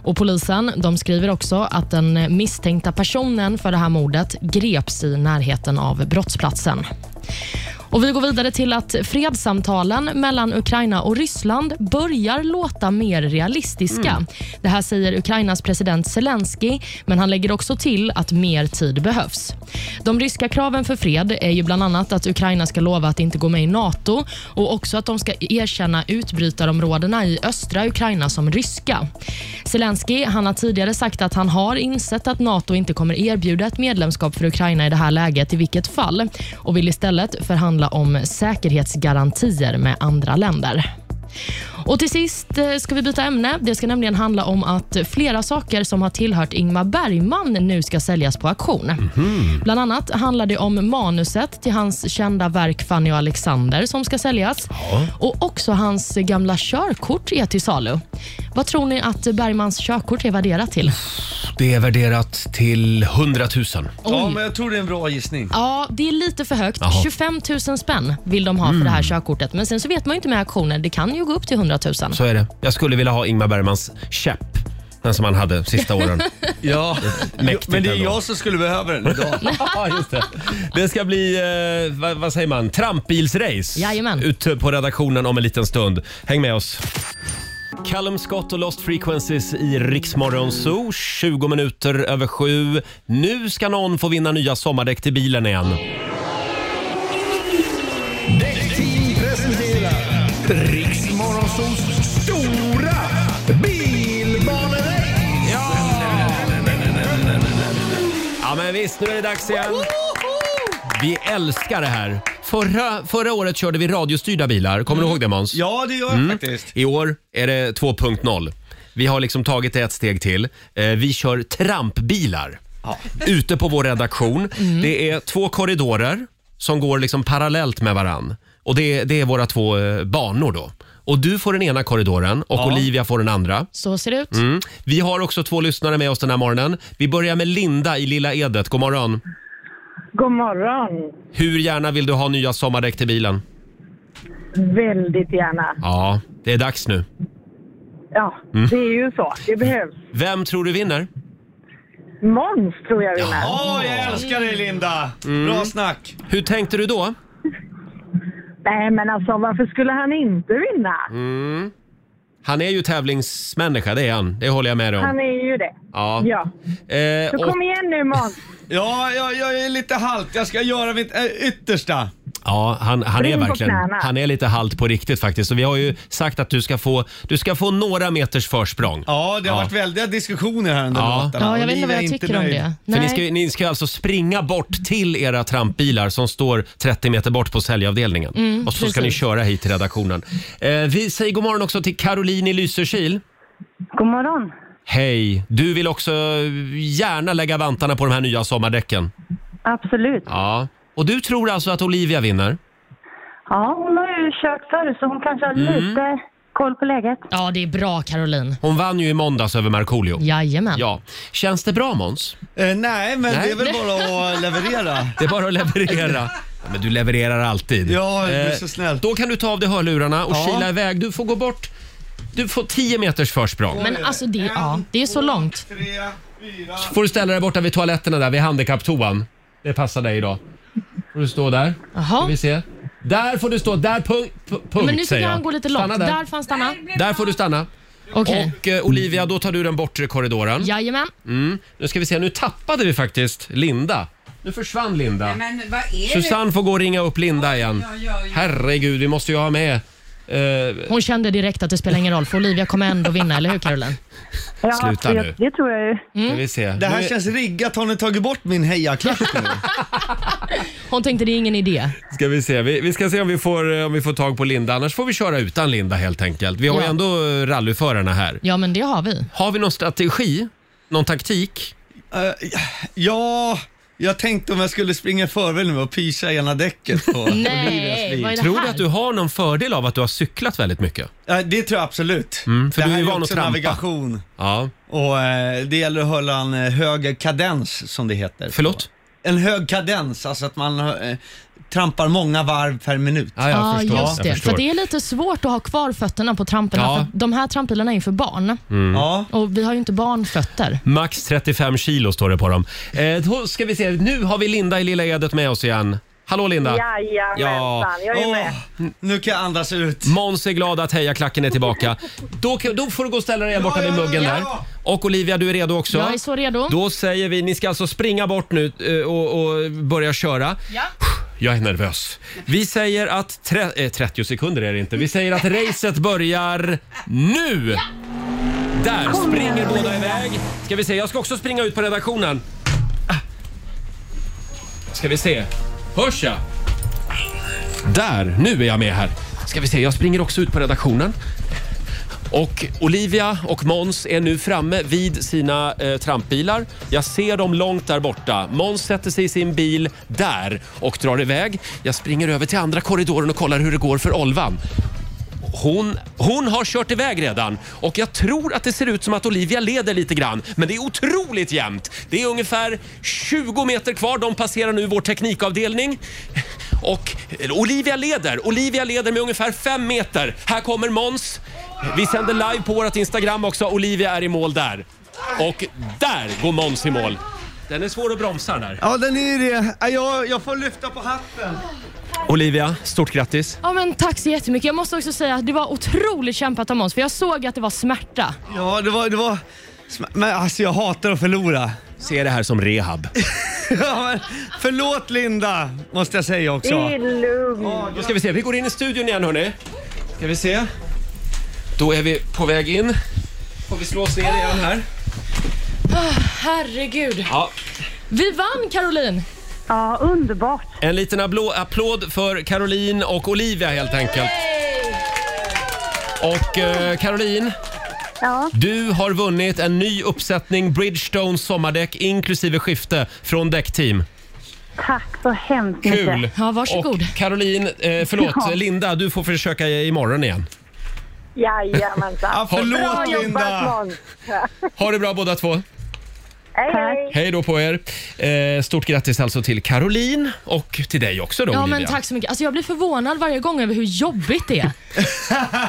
S2: Och polisen de skriver också att den misstänkta personen för det här mordet greps i närheten av brottsplatsen. Och Vi går vidare till att fredssamtalen mellan Ukraina och Ryssland börjar låta mer realistiska. Det här säger Ukrainas president Zelensky, men han lägger också till att mer tid behövs. De ryska kraven för fred är ju bland annat att Ukraina ska lova att inte gå med i NATO och också att de ska erkänna utbrytarområdena i östra Ukraina som ryska. Zelensky han har tidigare sagt att han har insett att NATO inte kommer erbjuda ett medlemskap för Ukraina i det här läget i vilket fall och vill istället förhandla om säkerhetsgarantier med andra länder. Och Till sist eh, ska vi byta ämne. Det ska nämligen handla om att flera saker som har tillhört Ingmar Bergman nu ska säljas på auktion. Bland annat handlar det om manuset till hans kända verk Fanny och Alexander som ska säljas. Och också hans gamla körkort är till salu. Vad tror ni att Bergmans körkort är värderat till?
S1: Det är värderat till 100 000.
S10: Ja, men jag tror det är en bra gissning.
S2: Ja, det är lite för högt.
S1: Jaha. Mm.
S2: 25 000 spänn vill de ha för det här körkortet. Men sen så vet man ju inte med auktioner. Det kan ju gå upp till 100 000.
S1: Så är det. Jag skulle vilja ha Ingmar Bergmans käpp. Den som han hade sista åren.
S10: Ja,
S1: Mäktigt
S10: men det är
S1: ändå.
S10: jag som skulle behöva den idag.
S1: Ja, just det. det ska bli, eh, vad, vad säger man, trampbilsrace
S2: Jajamän.
S1: ute på redaktionen om en liten stund. Häng med oss. Callum Scott och Lost Frequencies i Riksmorgon Zoo, 20 minuter över sju. Nu ska någon få vinna nya sommardäck till bilen igen.
S6: Däckteam presenterar Riksmorgonsols stora bilbanedäck.
S1: Ja men visst, nu är det dags igen. Vi älskar det här. Förra, förra året körde vi radiostyrda bilar. Kommer du ihåg det Måns?
S10: Ja, det gör jag
S1: Mm.
S10: faktiskt.
S1: I år är det 2.0. Vi har liksom tagit det ett steg till. Eh, Vi kör trampbilar ute på vår redaktion. Det är två korridorer som går liksom parallellt med varann. Och det, det är våra två eh, banor då. Och du får den ena korridoren och Olivia får den andra.
S2: Så ser det ut.
S1: Mm. Vi har också två lyssnare med oss den här morgonen. Vi börjar med Linda i Lilla Edet. God morgon.
S7: God morgon.
S1: Hur gärna vill du ha nya sommardäck till bilen?
S7: Väldigt gärna.
S1: Ja, det är dags nu.
S7: Ja,
S1: Mm.
S7: det är ju så. Det behövs.
S1: Vem tror du vinner?
S7: Måns tror jag vinner.
S10: Åh, jag älskar dig Linda!
S1: Mm.
S10: Bra snack.
S1: Hur tänkte du då?
S7: Nej, men alltså varför skulle han inte vinna?
S10: Mm.
S1: Han är ju tävlingsmänniska, det är han. Det håller jag med dig
S7: Han
S1: om.
S7: är ju det.
S1: Ja.
S7: Ja.
S1: Eh,
S7: Så
S1: och,
S7: kom igen nu Måns.
S10: Ja, jag, jag är lite halt. Jag ska göra mitt äh, yttersta.
S1: ja, han, han är
S7: Spring på
S1: verkligen
S7: knäna.
S1: han är lite halt på riktigt faktiskt. Så vi har ju sagt att du ska få, du ska få några meters försprång.
S10: Ja, det har
S1: Ja.
S10: varit väldiga diskussioner här under
S1: Ja.
S10: låtarna.
S2: Ja, jag vet
S10: Olivia
S2: inte vad
S10: är
S2: jag tycker om
S10: nöjd.
S2: det. Nej.
S1: För ni ska, ju- ni ska ju alltså springa bort till era trampbilar som står 30 meter bort på säljavdelningen. och så ska ni
S2: precis.
S1: köra hit till redaktionen. Eh, vi säger god morgon också till Caroline i Lysekil.
S7: God morgon.
S1: Hej! Du vill också gärna lägga vantarna på de här nya sommardäcken.
S7: Absolut.
S1: Ja. Och du tror alltså att Olivia vinner?
S7: Ja, hon har ju kört förr så hon kanske har
S1: Mm.
S7: lite koll på läget.
S2: Ja, det är bra Caroline.
S1: Hon vann ju i måndags över Markoolio.
S2: Jajamän.
S1: Ja. Känns det bra Måns?
S10: Eh, nej, men
S1: Nej.
S10: det är väl bara att leverera.
S1: Det är bara att leverera. Ja, Men du levererar alltid.
S10: Ja, du är
S1: Eh,
S10: så snäll.
S1: Då kan du ta av dig hörlurarna och
S10: Ja.
S1: kila iväg. Du får gå bort. Du får 10 meters försprång.
S2: Men alltså det, ja, det är så långt.
S10: Tre, fyra.
S1: får du ställa dig borta vid toaletterna där, vid handikapptoan. Det passar dig idag. Får du stå där. Ska
S2: Jaha.
S1: vi se. Där får du stå. Där punkt, punkt
S2: Men nu tycker
S1: säger
S2: jag
S1: jag.
S2: han går lite
S1: Stanna
S2: långt.
S1: där.
S2: Där får han stanna.
S1: Där får du stanna.
S2: Okej.
S1: Och eh, Olivia, då tar du den bortre korridoren.
S2: Jajamän.
S1: Mm. Nu ska vi se, nu tappade vi faktiskt Linda. Nu försvann Linda.
S5: Men vad är
S1: Susanne får gå och ringa upp Linda igen.
S5: Oj, oj, oj.
S1: Herregud, vi måste ju ha med... eh,
S2: Hon kände direkt att det spelar ingen roll för Olivia kommer ändå vinna, eller hur Caroline?
S7: Ja,
S1: Sluta
S7: det,
S1: nu.
S7: det tror jag ju.
S2: Mm.
S1: ska vi se.
S10: Det här
S1: Nu-
S10: känns riggat. Har ni tagit bort min hejaklack nu?
S2: Hon tänkte det är ingen idé.
S1: Ska vi se. Vi, vi ska se om vi, får, eh, om vi får tag på Linda. Annars får vi köra utan Linda helt enkelt. Vi har ju
S2: Ja.
S1: ändå eh, rallyförarna här.
S2: Ja, men det har vi.
S1: Har vi någon strategi? Någon taktik?
S10: Eh, ja, Jag tänkte om jag skulle springa i förväg nu och pysa ena däcket på Olivias bil.
S1: Tror du att du har någon fördel av att du har cyklat väldigt mycket?
S10: Ja, det tror jag absolut.
S1: Mm, för
S10: det
S1: du är
S10: här
S1: ju
S10: är
S1: van att
S10: också
S1: trampa.
S10: navigation.
S1: Ja.
S10: Och eh, det gäller att hålla en eh, hög kadens som det heter.
S1: Förlåt?
S10: En hög kadens, alltså att man eh, trampar många varv per minut.
S1: Ja,
S3: Ja, just det. För det är lite svårt att ha kvar fötterna på tramporna.
S10: Ja.
S3: För de här trampbilarna är ju för barn.
S1: Mm.
S10: Ja.
S3: Och vi har ju inte barnfötter.
S1: Max 35 kilo står det på dem. Eh, då ska vi se, nu har vi Linda i Lilla Edet med oss igen. Hallå Linda!
S6: Jajamensan, jag är med.
S10: Nu kan jag andas ut.
S1: Måns är glad att hejaklacken är tillbaka. Då, kan- då får du gå och ställa dig här borta vid muggen
S3: ja.
S1: där. Och Olivia, du är redo också?
S3: Jag är så redo.
S1: Då säger vi, ni ska alltså springa bort nu eh, och, och börja köra.
S3: Ja.
S1: Jag är nervös. Vi säger att... Tre, eh, 30 sekunder är det inte. Vi säger att racet börjar nu! Där springer båda iväg. Ska vi se, jag ska också springa ut på redaktionen. Ah. Ska vi se. Hörs jag? Där, nu är jag med här. Ska vi se, jag springer också ut på redaktionen. Och Olivia och Måns är nu framme vid sina eh, trampbilar. Jag ser dem långt där borta. Måns sätter sig i sin bil där och drar iväg. Jag springer över till andra korridoren och kollar hur det går för Olvan. Hon, hon har kört iväg redan och jag tror att det ser ut som att Olivia leder lite grann. Men det är otroligt jämnt. Det är ungefär 20 meter kvar. De passerar nu vår teknikavdelning. Och Olivia leder. Olivia leder med ungefär 5 meter. Här kommer Måns. Vi sänder live på vårt Instagram också. Olivia är i mål där. Och där går Måns i mål. Den är svår att bromsa den här.
S10: Ja, den är ju det. Ja, Jag, jag får lyfta på hatten.
S1: Olivia, stort grattis.
S3: Ja, men tack så jättemycket. Jag måste också säga att det var otroligt kämpat av Måns, för jag såg att det var smärta.
S10: Ja, det var... Det var sm- men alltså jag hatar att förlora.
S1: Se det här som rehab.
S10: ja, men, förlåt Linda, måste jag säga också.
S7: lugnt.
S1: Då ska vi se, vi går in i studion igen hörni. Ska vi se. Då är vi på väg in. Får vi slå oss ner igen här?
S3: Ah, herregud.
S1: Ja.
S3: Vi vann, Caroline!
S7: Ja, underbart.
S1: En liten applå- applåd för Caroline och Olivia helt enkelt. Och eh, Caroline,
S7: Ja.
S1: du har vunnit en ny uppsättning Bridgestone sommardäck inklusive skifte från Däckteam.
S7: Tack så hemskt
S1: Kul!
S7: mycket.
S1: Och Caroline, eh, förlåt,
S7: Ja.
S1: Linda, du får försöka i- imorgon igen.
S7: Jajamensan.
S1: Ja, förlåt,
S7: Bra
S1: Linda.
S7: jobbat Måns.
S1: Ha det bra båda två.
S7: Hej, hej.
S1: Hej då på er. Eh, stort grattis alltså till Caroline och till dig också då
S3: Ja,
S1: Olivia.
S3: men tack så mycket. Alltså, jag blir förvånad varje gång över hur jobbigt det är.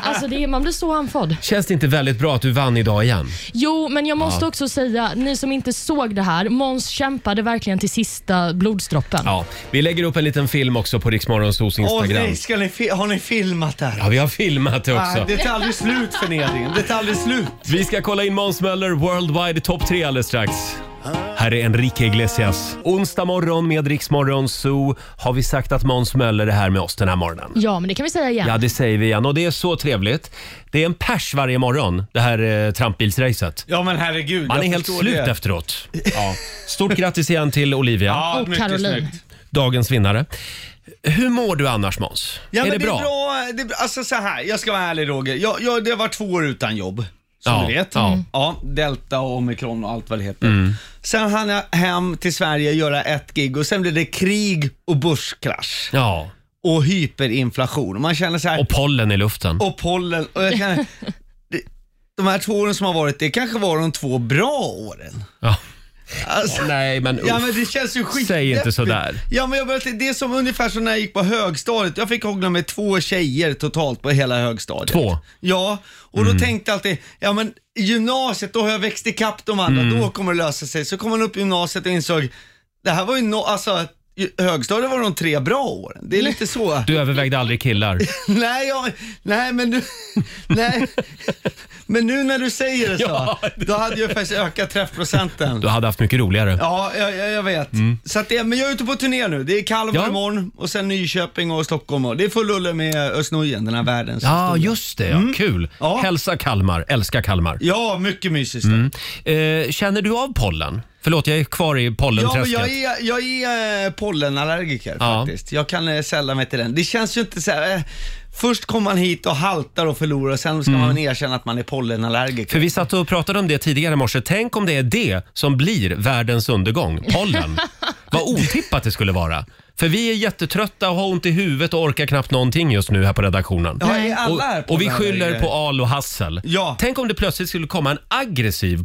S3: Alltså, det är man blir så andfådd.
S1: Känns det inte väldigt bra att du vann idag igen?
S3: Jo, men jag måste
S1: Ja.
S3: också säga, ni som inte såg det här, Måns kämpade verkligen till sista blodsdroppen.
S1: Ja, vi lägger upp en liten film också på Riksmorgonsos
S10: Åh
S1: Instagram.
S10: nej, ska ni fi- har ni filmat det här?
S1: Ja, vi har filmat det också.
S10: Nej, det tar aldrig slut förnedringen. Det tar aldrig slut.
S1: Vi ska kolla in Måns Möller Worldwide Top 3 alldeles strax. Här är Enrique Iglesias. Onsdag morgon med Riksmorgon Zoo har vi sagt att Måns Möller är här med oss den här morgonen.
S3: Ja, men det kan vi säga igen.
S1: Ja, det säger vi igen och det är så trevligt. Det är en pers varje morgon, det här eh, trampbilsracet.
S10: Ja men herregud.
S1: Man
S10: jag
S1: är helt
S10: förstår
S1: slut
S10: det.
S1: efteråt. Ja. Stort grattis igen till Olivia.
S10: Ja, Och mycket Caroline. snyggt.
S1: Dagens vinnare. Hur mår du annars Måns?
S10: Ja,
S1: är
S10: men
S1: det bra?
S10: Är bra det är, bra. alltså så här, jag ska vara ärlig Roger. Jag, jag, det har varit två år utan jobb. Som
S1: Ja,
S10: du vet.
S1: ja. Mm.
S10: ja, delta och omikron och allt vad det heter.
S1: Mm.
S10: Sen hann jag hem till Sverige göra ett gig och sen blev det krig och börskrasch.
S1: Ja.
S10: Och hyperinflation. Och man känner så här,
S1: Och pollen i luften.
S10: och pollen. Och jag känner, det, de här två åren som har varit, det kanske var de två bra åren.
S1: Ja.
S10: Alltså,
S1: Nej men
S10: Ja
S1: uff.
S10: men det känns ju skit
S1: Säg inte sådär.
S10: Ja men jag började, det är som ungefär som när jag gick på högstadiet. Jag fick hångla med två tjejer totalt på hela högstadiet.
S1: Två? Mm.
S10: Ja, och då tänkte jag alltid, ja men i gymnasiet då har jag växt ikapp de andra,
S1: Mm.
S10: då kommer det lösa sig. Så kom man upp i gymnasiet och insåg, det här var ju no, alltså i högstadiet var de tre bra åren. Det är
S1: Mm.
S10: lite så.
S1: Du övervägde aldrig killar.
S10: Nej, jag, nej, men du, nej, men nu när du säger det så, då hade jag faktiskt ökat träffprocenten.
S1: Du hade haft mycket roligare.
S10: Ja, jag, jag, jag vet. Så att det, men jag är ute på turné nu. Det är Kalmar
S1: Ja.
S10: imorgon och sen Nyköping och Stockholm. Och det är full rulle med Östnojen, den här världens
S1: Ja,
S10: historia.
S1: just det. Ja.
S10: Mm.
S1: Kul. Hälsa Kalmar. Älska Kalmar.
S10: Ja, mycket mysigt.
S1: Mm. Eh, känner du av pollen? Förlåt, jag är kvar i
S10: Ja, men
S1: pollenträsket.
S10: jag är, jag är eh, pollenallergiker
S1: Ja.
S10: faktiskt. Jag kan eh, sälla mig till den. Det känns ju inte så här, eh, först kommer man hit och haltar och förlorar, sen ska man erkänna att man är pollenallergiker.
S1: Mm. För vi satt och pratade om det tidigare i morse. Tänk om det är det som blir världens undergång. Pollen. Vad otippat det skulle vara. För vi är jättetrötta och har ont i huvudet och orkar knappt någonting just nu här på redaktionen.
S10: Ja, är alla här
S1: och,
S10: på
S1: och vi
S10: den här
S1: skyller
S10: grejen?
S1: på al och hassel. Tänk om det plötsligt skulle komma en aggressiv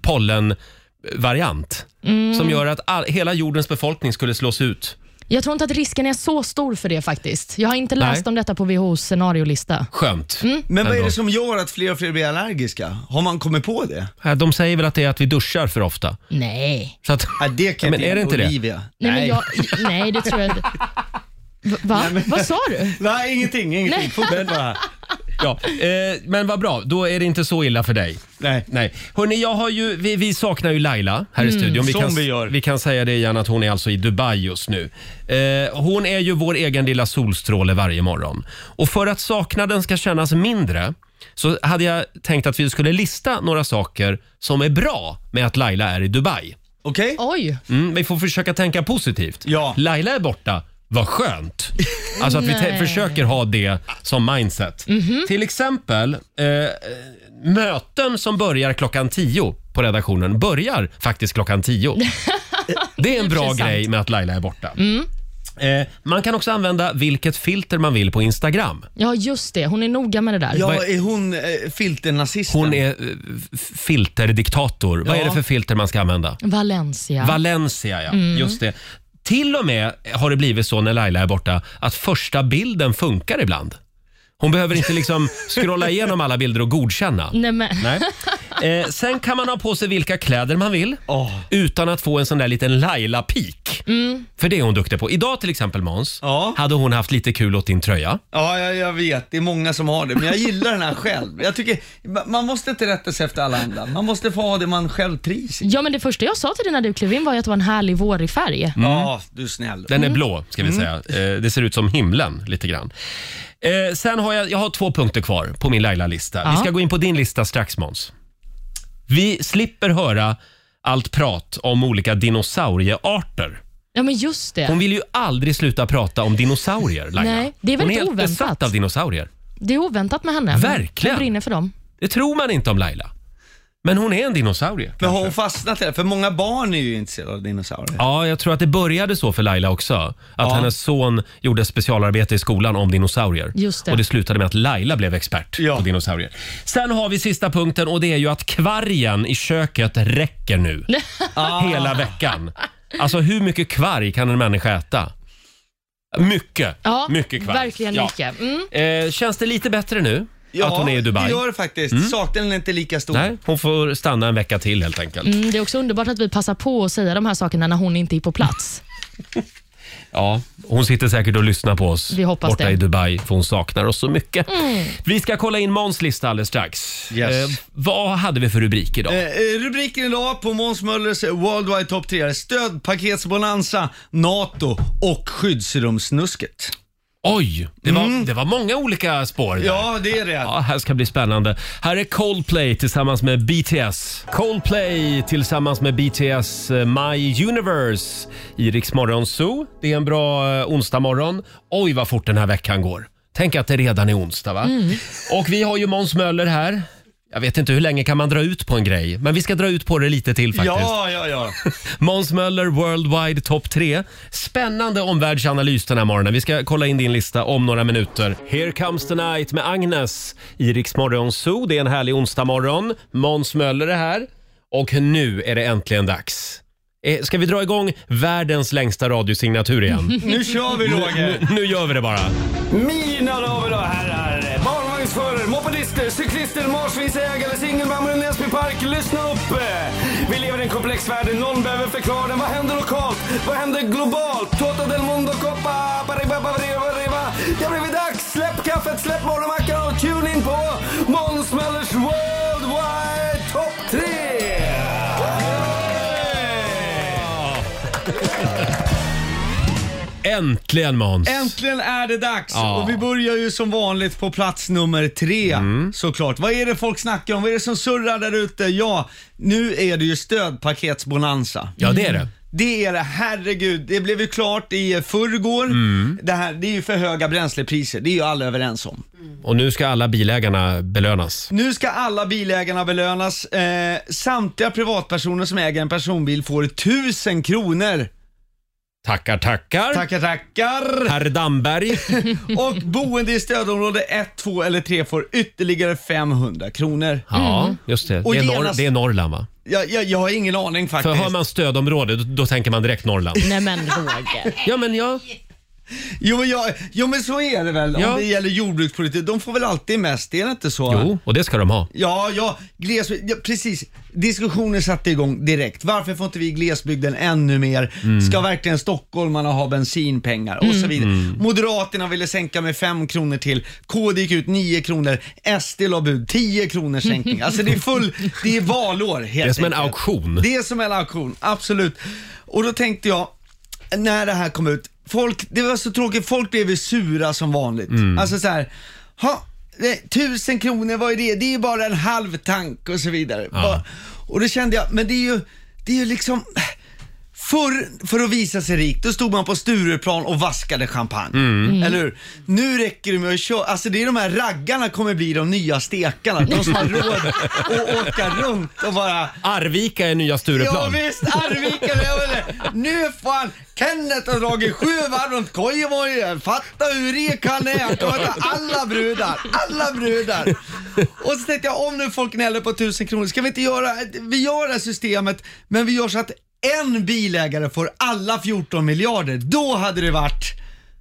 S1: pollenvariant
S3: Mm.
S1: som gör att all, hela jordens befolkning skulle slås ut.
S3: Jag tror inte att risken är så stor för det faktiskt. Jag har inte
S1: Nej.
S3: läst om detta på WHOs scenariolista.
S1: Skönt.
S10: Men vad är
S1: Ändå.
S10: det som gör att fler och fler blir allergiska? Har man kommit på det?
S1: Äh, De säger väl att det är att vi duschar för ofta.
S3: Nej.
S1: Så att,
S10: det kan
S1: men
S10: jag
S1: är det inte
S10: Olivia.
S1: det?
S3: Nej, men jag, nej det tror jag inte. Va? Vad sa du?
S10: Nej, ingenting.
S3: Nej.
S10: ingenting. Fortsätt bara.
S1: Ja, eh, men vad bra, då är det inte så illa för dig.
S10: Nej.
S1: Nej. Hörrni, jag har ju, vi, vi saknar ju Laila här i
S10: Mm.
S1: studion.
S10: Som
S1: kan,
S10: vi gör.
S1: vi kan säga det igen att hon är alltså i Dubai just nu. Eh, hon är ju vår egen lilla solstråle varje morgon. Och för att saknaden ska kännas mindre så hade jag tänkt att vi skulle lista några saker som är bra med att Laila är i Dubai.
S10: Okej?
S3: Oj.
S1: Mm, vi får försöka tänka positivt. Ja. Laila är borta. Vad skönt! Alltså att vi te-
S3: Nej. Mhm.
S1: försöker ha det som mindset. Till exempel, eh, möten som börjar klockan 10 på redaktionen börjar faktiskt klockan 10. Det är en bra
S3: Intressant.
S1: grej med att Laila är borta.
S3: Mm.
S1: Eh, man kan också använda vilket filter man vill på Instagram.
S3: Ja, just det. Hon är noga med det där.
S1: Ja,
S10: är hon eh, filternazisten?
S1: Hon är eh, f- filterdiktator. Vad
S3: Ja.
S1: är det för filter man ska använda?
S3: Valencia.
S1: Valencia, ja.
S3: Mm.
S1: Just det. Till och med har det blivit så när Laila är borta att första bilden funkar ibland. Hon behöver inte liksom scrolla igenom alla bilder och godkänna.
S3: Nej, men.
S1: Nej. Eh, sen kan man ha på sig vilka kläder man vill utan att få en sån där liten Laila-peak.
S3: Mm.
S1: För det är hon duktig på. Idag till exempel Måns, hade hon haft lite kul åt din tröja.
S10: Ja, jag, jag vet. Det är många som har det, men jag gillar den här själv. Jag tycker, ma- man måste inte rätta sig efter alla andra. Man måste få ha det man själv trivs i.
S3: Ja, men det första jag sa till dig när du klev in var ju att det var en härlig vårig färg.
S1: Mm.
S10: Ja, du är snäll.
S1: Den är blå, ska vi
S10: Mm.
S1: säga. Eh, det ser ut som himlen lite grann. Eh, sen har jag, jag har två punkter kvar på min Laila-lista. Vi
S3: Ja.
S1: ska gå in på din lista strax, Måns. Vi slipper höra allt prat om olika dinosauriearter.
S3: Ja, men just det.
S1: Hon vill ju aldrig sluta prata om dinosaurier, Laila.
S3: Nej, det är väldigt
S1: Hon är helt
S3: oväntat.
S1: besatt av dinosaurier.
S3: Det är oväntat med henne.
S1: Verkligen.
S3: Hon brinner för dem.
S1: Det tror man inte om Laila. Men hon är en dinosaurie.
S10: Men har hon fastnat i det? För många barn är ju intresserade av dinosaurier.
S1: Ja, jag tror att det började så för Laila också. Att hennes son gjorde specialarbete i skolan om dinosaurier.
S10: Just det.
S1: Och det slutade med att Laila blev expert på dinosaurier. Sen har vi sista punkten och det är ju att kvargen i köket räcker nu.
S3: Ah.
S1: Hela veckan. Alltså hur mycket kvarg kan en människa äta? Mycket.
S3: Ja,
S1: mycket kvarg.
S3: verkligen
S1: Ja.
S3: mycket. Mm.
S1: Eh, känns det lite bättre nu?
S10: Ja,
S1: att hon är i Dubai? Mm.
S10: det gör det faktiskt. Saknaden är inte lika stor.
S1: Nej, hon får stanna en vecka till helt enkelt.
S3: Mm, det är också underbart att vi passar på att säga de här sakerna när hon inte är på plats.
S1: Ja, hon sitter säkert och lyssnar på oss
S3: Vi hoppas
S1: borta
S3: det.
S1: i Dubai för hon saknar oss så mycket.
S3: Mm.
S1: Vi ska kolla in Måns lista alldeles strax. Eh, vad hade vi för rubrik idag?
S10: Eh, eh, rubriken idag på Måns Möllers eh, Worldwide Top 3 är stödpaketsbonanza, NATO och skyddsrumssnusket.
S1: Oj, det var, det var många olika spår där.
S10: mm. Ja, det är det.
S1: Ja, här ska bli spännande. Här är Coldplay tillsammans med BTS. Coldplay tillsammans med BTS eh, My Universe i Rix Morgon Zoo. Det är en bra eh, onsdagmorgon. Oj, vad fort den här veckan går. Tänk att det redan är onsdag, va?
S11: Mm.
S1: Och vi har ju Måns Möller här. Jag vet inte hur länge kan man dra ut på en grej, men vi ska dra ut på det lite till faktiskt.
S10: Ja, ja, ja.
S1: Måns Möller, Worldwide Top 3. Spännande omvärldsanalys den här morgonen. Vi ska kolla in din lista om några minuter. Here comes the night med Agnes i Rix Morgon Zoo. Det är en härlig onsdagmorgon. Måns Möller är här och nu är det äntligen dags. Eh, Ska vi dra igång världens längsta radiosignatur igen?
S10: Nu kör vi, Roger.
S1: Nu, nu gör vi det bara.
S11: Mina damer och herrar, barnvagnsförare, mopedister, cyklister, marsvinsägare, singelmammor i Näsby Park. Lyssna upp! Vi lever i en komplex värld, någon behöver förklara den. Vad händer lokalt? Vad händer globalt? Toto del mondo coppa, bariba, bariba, bariba. Det har blivit dags! Släpp kaffet, släpp morgonmackan och tune in på Måns Möllers Worldwide Top 3!
S1: Äntligen Måns!
S10: Äntligen är det dags
S1: Ja.
S10: och vi börjar ju som vanligt på plats nummer tre såklart. Vad är det folk snackar om? Vad är det som surrar där ute? Ja, nu är det ju stödpaketsbonanza.
S1: Ja, det är det.
S10: Det är det, herregud. Det blev ju klart i förrgår. Det, här, det är ju för höga bränslepriser, det är ju alla överens om.
S1: Och nu ska alla bilägarna belönas.
S10: Nu ska alla bilägarna belönas. Eh, samtliga privatpersoner som äger en personbil får 1000 kronor
S1: Tackar, tackar.
S10: Tackar, tackar.
S1: Herr Damberg.
S10: och boende i stödområde 1, 2 eller 3 får ytterligare 500 kronor.
S1: Ja, just det.
S10: Mm. Och
S1: Det är, norr,
S10: genast-
S1: det är Norrland va?
S10: Jag, jag, jag har ingen aning
S1: För
S10: faktiskt.
S1: hör man stödområde, då, då tänker man direkt Norrland.
S3: Nej men Roger.
S1: Ja men jag...
S10: Jo men, jag, jo men så är det väl
S1: Ja.
S10: om det gäller jordbrukspolitik. De får väl alltid mest, är det inte så?
S1: Jo, och det ska de ha.
S10: Ja, ja, glesbygd, ja, precis. Diskussionen satte igång direkt. Varför får inte vi glesbygden ännu mer?
S1: Mm.
S10: Ska verkligen stockholmarna ha bensinpengar? Och så vidare.
S1: Mm.
S10: Moderaterna ville sänka med 5 kronor till. KD gick ut 9 kronor. SD la bud 10 kronor sänkning. Alltså det är full, det är valår helt
S1: Det är som en
S10: enkelt.
S1: auktion.
S10: Det är som en auktion, absolut. Och då tänkte jag, när det här kom ut, folk, det var så tråkigt, folk blev ju sura som vanligt. Alltså så här, ha, det- tusen kronor, vad är det? Det är ju bara en halv tank och så vidare. Bara- Och då kände jag, men det är ju, det är ju liksom, Förr, för att visa sig rik, då stod man på Stureplan och vaskade champagne. Eller hur? Nu räcker det med att köra. Alltså det är de här raggarna kommer bli de nya stekarna. De som har råd att åka runt och bara
S1: Arvika är nya
S10: Ja
S1: Stureplan.
S10: visst, Arvika lever Nu fan, Kenneth har dragit sju varv runt Koivojen. Fatta hur rik han är. Han kommer ta alla brudar, alla brudar. Och så tänkte jag, om nu folk gnäller på tusen kronor, ska vi inte göra, vi gör det här systemet, men vi gör så att en bilägare får alla 14 miljarder. Då hade det varit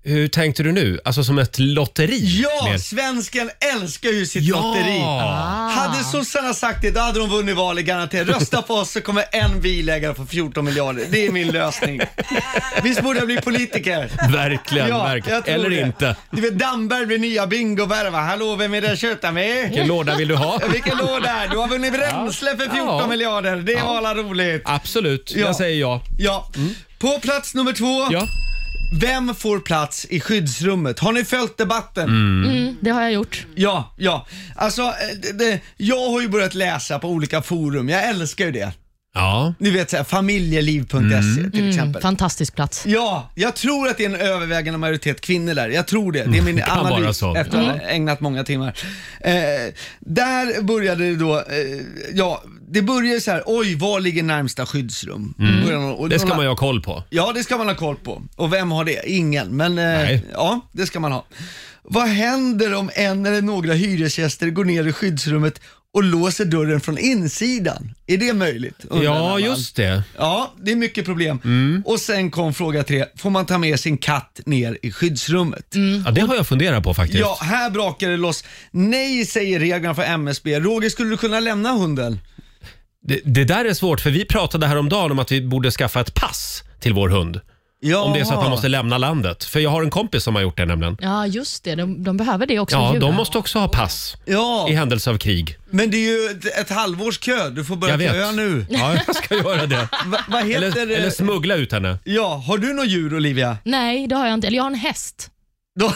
S1: Hur tänkte du nu? Alltså som ett lotteri?
S10: Ja,
S1: mer?
S10: svensken älskar ju sitt
S1: Ja.
S10: lotteri.
S1: Ah.
S10: Hade sossarna sagt det, då hade de vunnit valet garanterat. Rösta på oss så kommer en bilägare få 14 miljarder. Det är min lösning. Visst borde jag bli politiker?
S1: Verkligen, verkligen.
S10: jag tror
S1: Eller
S10: det.
S1: inte.
S10: Du vet, Damberg blir nya bingovärva. Hallå, vem är det jag tjötar med?
S1: Vilken låda vill du ha?
S10: Vilken låda är Du har vunnit bränsle för 14
S1: Ja.
S10: miljarder. Det var alla roligt.
S1: Absolut,
S10: Ja.
S1: jag säger ja.
S10: Ja. På plats nummer två.
S1: Ja.
S10: Vem får plats i skyddsrummet? Har ni följt debatten?
S3: Mm, det har jag gjort.
S10: Ja, ja. Alltså, eh, det, det, jag har ju börjat läsa på olika forum. Jag älskar ju det.
S1: Ja.
S10: Ni vet så här, familjeliv.se E,
S1: Mm.
S10: till exempel.
S3: Mm, Fantastisk plats.
S10: Ja, jag tror att det är en övervägande majoritet kvinnor där. Jag tror det. Det är min
S1: Mm, kan vara
S10: analys
S1: så.
S10: efter att ha ägnat många timmar. Eh, där började det då, eh, ja, det började så här, oj, var ligger närmsta skyddsrum? Började- och
S1: Mm. Det ska
S10: några-
S1: man ju ha koll på.
S10: Ja, det ska man ha koll på. Och vem har det? Ingen. Men eh,
S1: Nej.
S10: ja, det ska man ha. Vad händer om en eller några hyresgäster går ner i skyddsrummet och låser dörren från insidan? Är det möjligt? Undrar
S1: Ja,
S10: man. Mm.
S1: just det.
S10: Ja, det är mycket problem.
S1: Mm.
S10: Och sen kom fråga tre. Får man ta med sin katt ner i skyddsrummet?
S1: Ja, det har jag funderat på faktiskt.
S10: Ja, här brakar det loss. Nej, säger reglerna för MSB. Roger, skulle du kunna lämna hunden?
S1: Det, det där är svårt, för vi pratade häromdagen om att vi borde skaffa ett pass till vår hund.
S10: Ja.
S1: Om det är så att man måste lämna landet. För jag har en kompis som har gjort det nämligen.
S3: Ja, just det. De, de behöver det också.
S1: Ja,
S3: djuren.
S1: de måste också ha pass
S10: Ja,
S1: i händelse av krig.
S10: men det är ju ett, ett halvårs kö. Du får börja
S1: Jag vet.
S10: köa nu.
S1: Ja, jag ska göra det.
S10: Va, vad heter
S1: Eller,
S10: det?
S1: eller smuggla ut henne.
S10: Ja, har du något djur Olivia?
S3: Nej, det har jag inte. Eller jag har en häst.
S10: Då,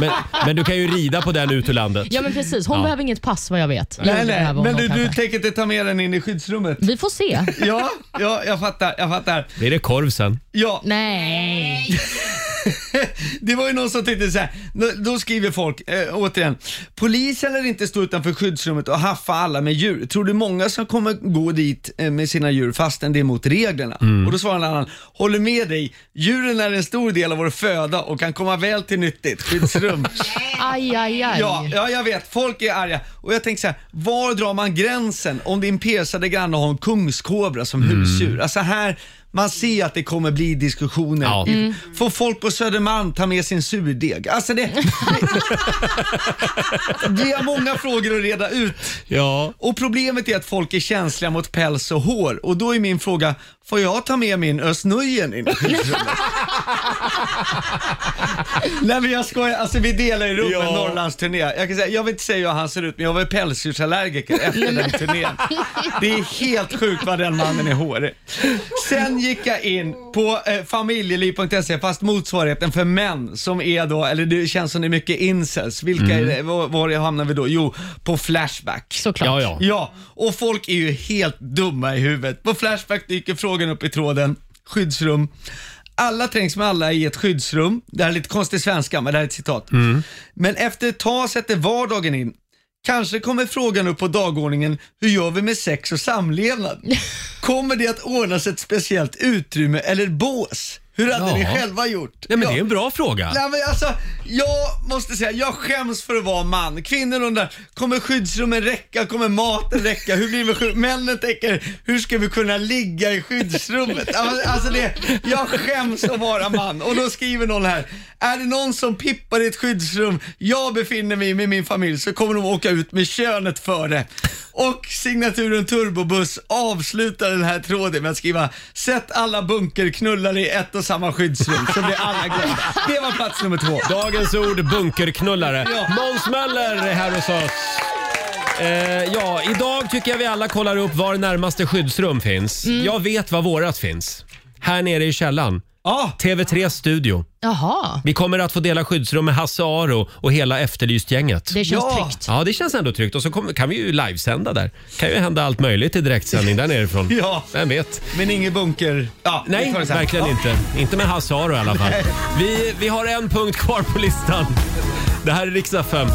S1: Men, men du kan ju rida på den ut ur landet.
S3: Ja, men precis. Hon
S1: Ja.
S3: behöver inget pass vad jag vet. Jo,
S10: nej,
S3: det
S10: nej,
S3: behöver hon
S10: men du,
S3: nog
S10: du
S3: kanske.
S10: tänker inte ta med den in i skyddsrummet?
S3: Vi får se.
S10: Ja, ja, jag fattar, jag fattar.
S1: Blir det korv sen?
S10: Ja,
S3: Nej.
S10: det var ju någon som tyckte så här. Då, då skriver folk, eh, återigen, polis eller inte stå utanför skyddsrummet och haffa alla med djur. Tror du många som kommer gå dit eh, med sina djur fastän det är mot reglerna? Och då svarar en annan, håller med dig, djuren är en stor del av vår föda och kan komma väl till nyttigt. Skyddsrum.
S3: Aj, aj, aj.
S10: Ja, ja, jag vet. Folk är arga. Och jag tänker så här, var drar man gränsen om din persade granne har en kungskobra som husdjur? Alltså här, man ser att det kommer bli diskussioner.
S1: Ja.
S10: Får folk på Södermalm ta med sin surdeg? Alltså det... det vi har många frågor att reda ut.
S1: Ja.
S10: Och problemet är att folk är känsliga mot päls och hår och då är min fråga, får jag ta med min Ösnöjen in i skyddsrummet? Nej men jag skojar, alltså vi delar ju rum
S1: Ja.
S10: en Norrlandsturné. Jag, kan säga, jag vill inte säga hur han ser ut men jag var ju pälsdjursallergiker efter den turnén. Det är helt sjukt vad den mannen är hårig. Sen gick jag in på eh, familjeliv.se fast motsvarigheten för män som är då, eller det känns som det är mycket incels. Vilka
S1: Mm.
S10: är det, var, var hamnar vi då? Jo, på Flashback.
S3: Såklart.
S1: Ja, ja.
S10: Ja, och folk är ju helt dumma i huvudet. På Flashback dyker frågan upp i tråden, skyddsrum. Alla trängs med alla i ett skyddsrum. Det här är lite konstig svenska, men det här är ett citat.
S1: Mm.
S10: Men efter ett tag sätter vardagen in. Kanske kommer frågan upp på dagordningen, hur gör vi med sex och samlevnad? Kommer det att ordnas ett speciellt utrymme eller bås? Hur hade
S1: Ja.
S10: ni själva gjort?
S1: Nej, men
S10: Ja.
S1: det är en bra fråga.
S10: Nej, men alltså, jag måste säga, jag skäms för att vara man. Kvinnor undrar, kommer skyddsrummen räcka? Kommer maten räcka? Hur blir vi sjuk? Männen tänker, hur ska vi kunna ligga i skyddsrummet? Ja, men Alltså det, jag skäms att vara man. Och då skriver någon här, är det någon som pippar i ett skyddsrum jag befinner mig i med min familj så kommer de åka ut med könet före. Och signaturen Turbobuss avslutar den här tråden med att skriva, sätt alla bunkerknullare i ett och samma skyddsrum så blir alla glada. Det var plats nummer två.
S1: Dagens ord bunkerknullare. Måns Möller är här hos oss. Eh, ja, idag tycker jag vi alla kollar upp var närmaste skyddsrum finns. Jag vet var vårat finns. Här nere i källaren. TV3 studio.
S2: Jaha.
S1: Vi kommer att få dela skyddsrum med Hasse Aro och hela Efterlyst-gänget.
S2: Det känns Ja. tryggt.
S1: Ja, det känns ändå tryggt. Och så kommer, kan vi ju livesända där. kan ju hända allt möjligt i direktsändning där nerifrån.
S10: Ja.
S1: Vem vet?
S10: Men ingen bunker... Ja,
S1: Nej,
S10: vi tar det sen.
S1: verkligen
S10: Ja.
S1: inte. Inte med Hasse Aro i alla fall.
S10: Nej.
S1: Vi, vi har en punkt kvar på listan. Det här är riksdag 5.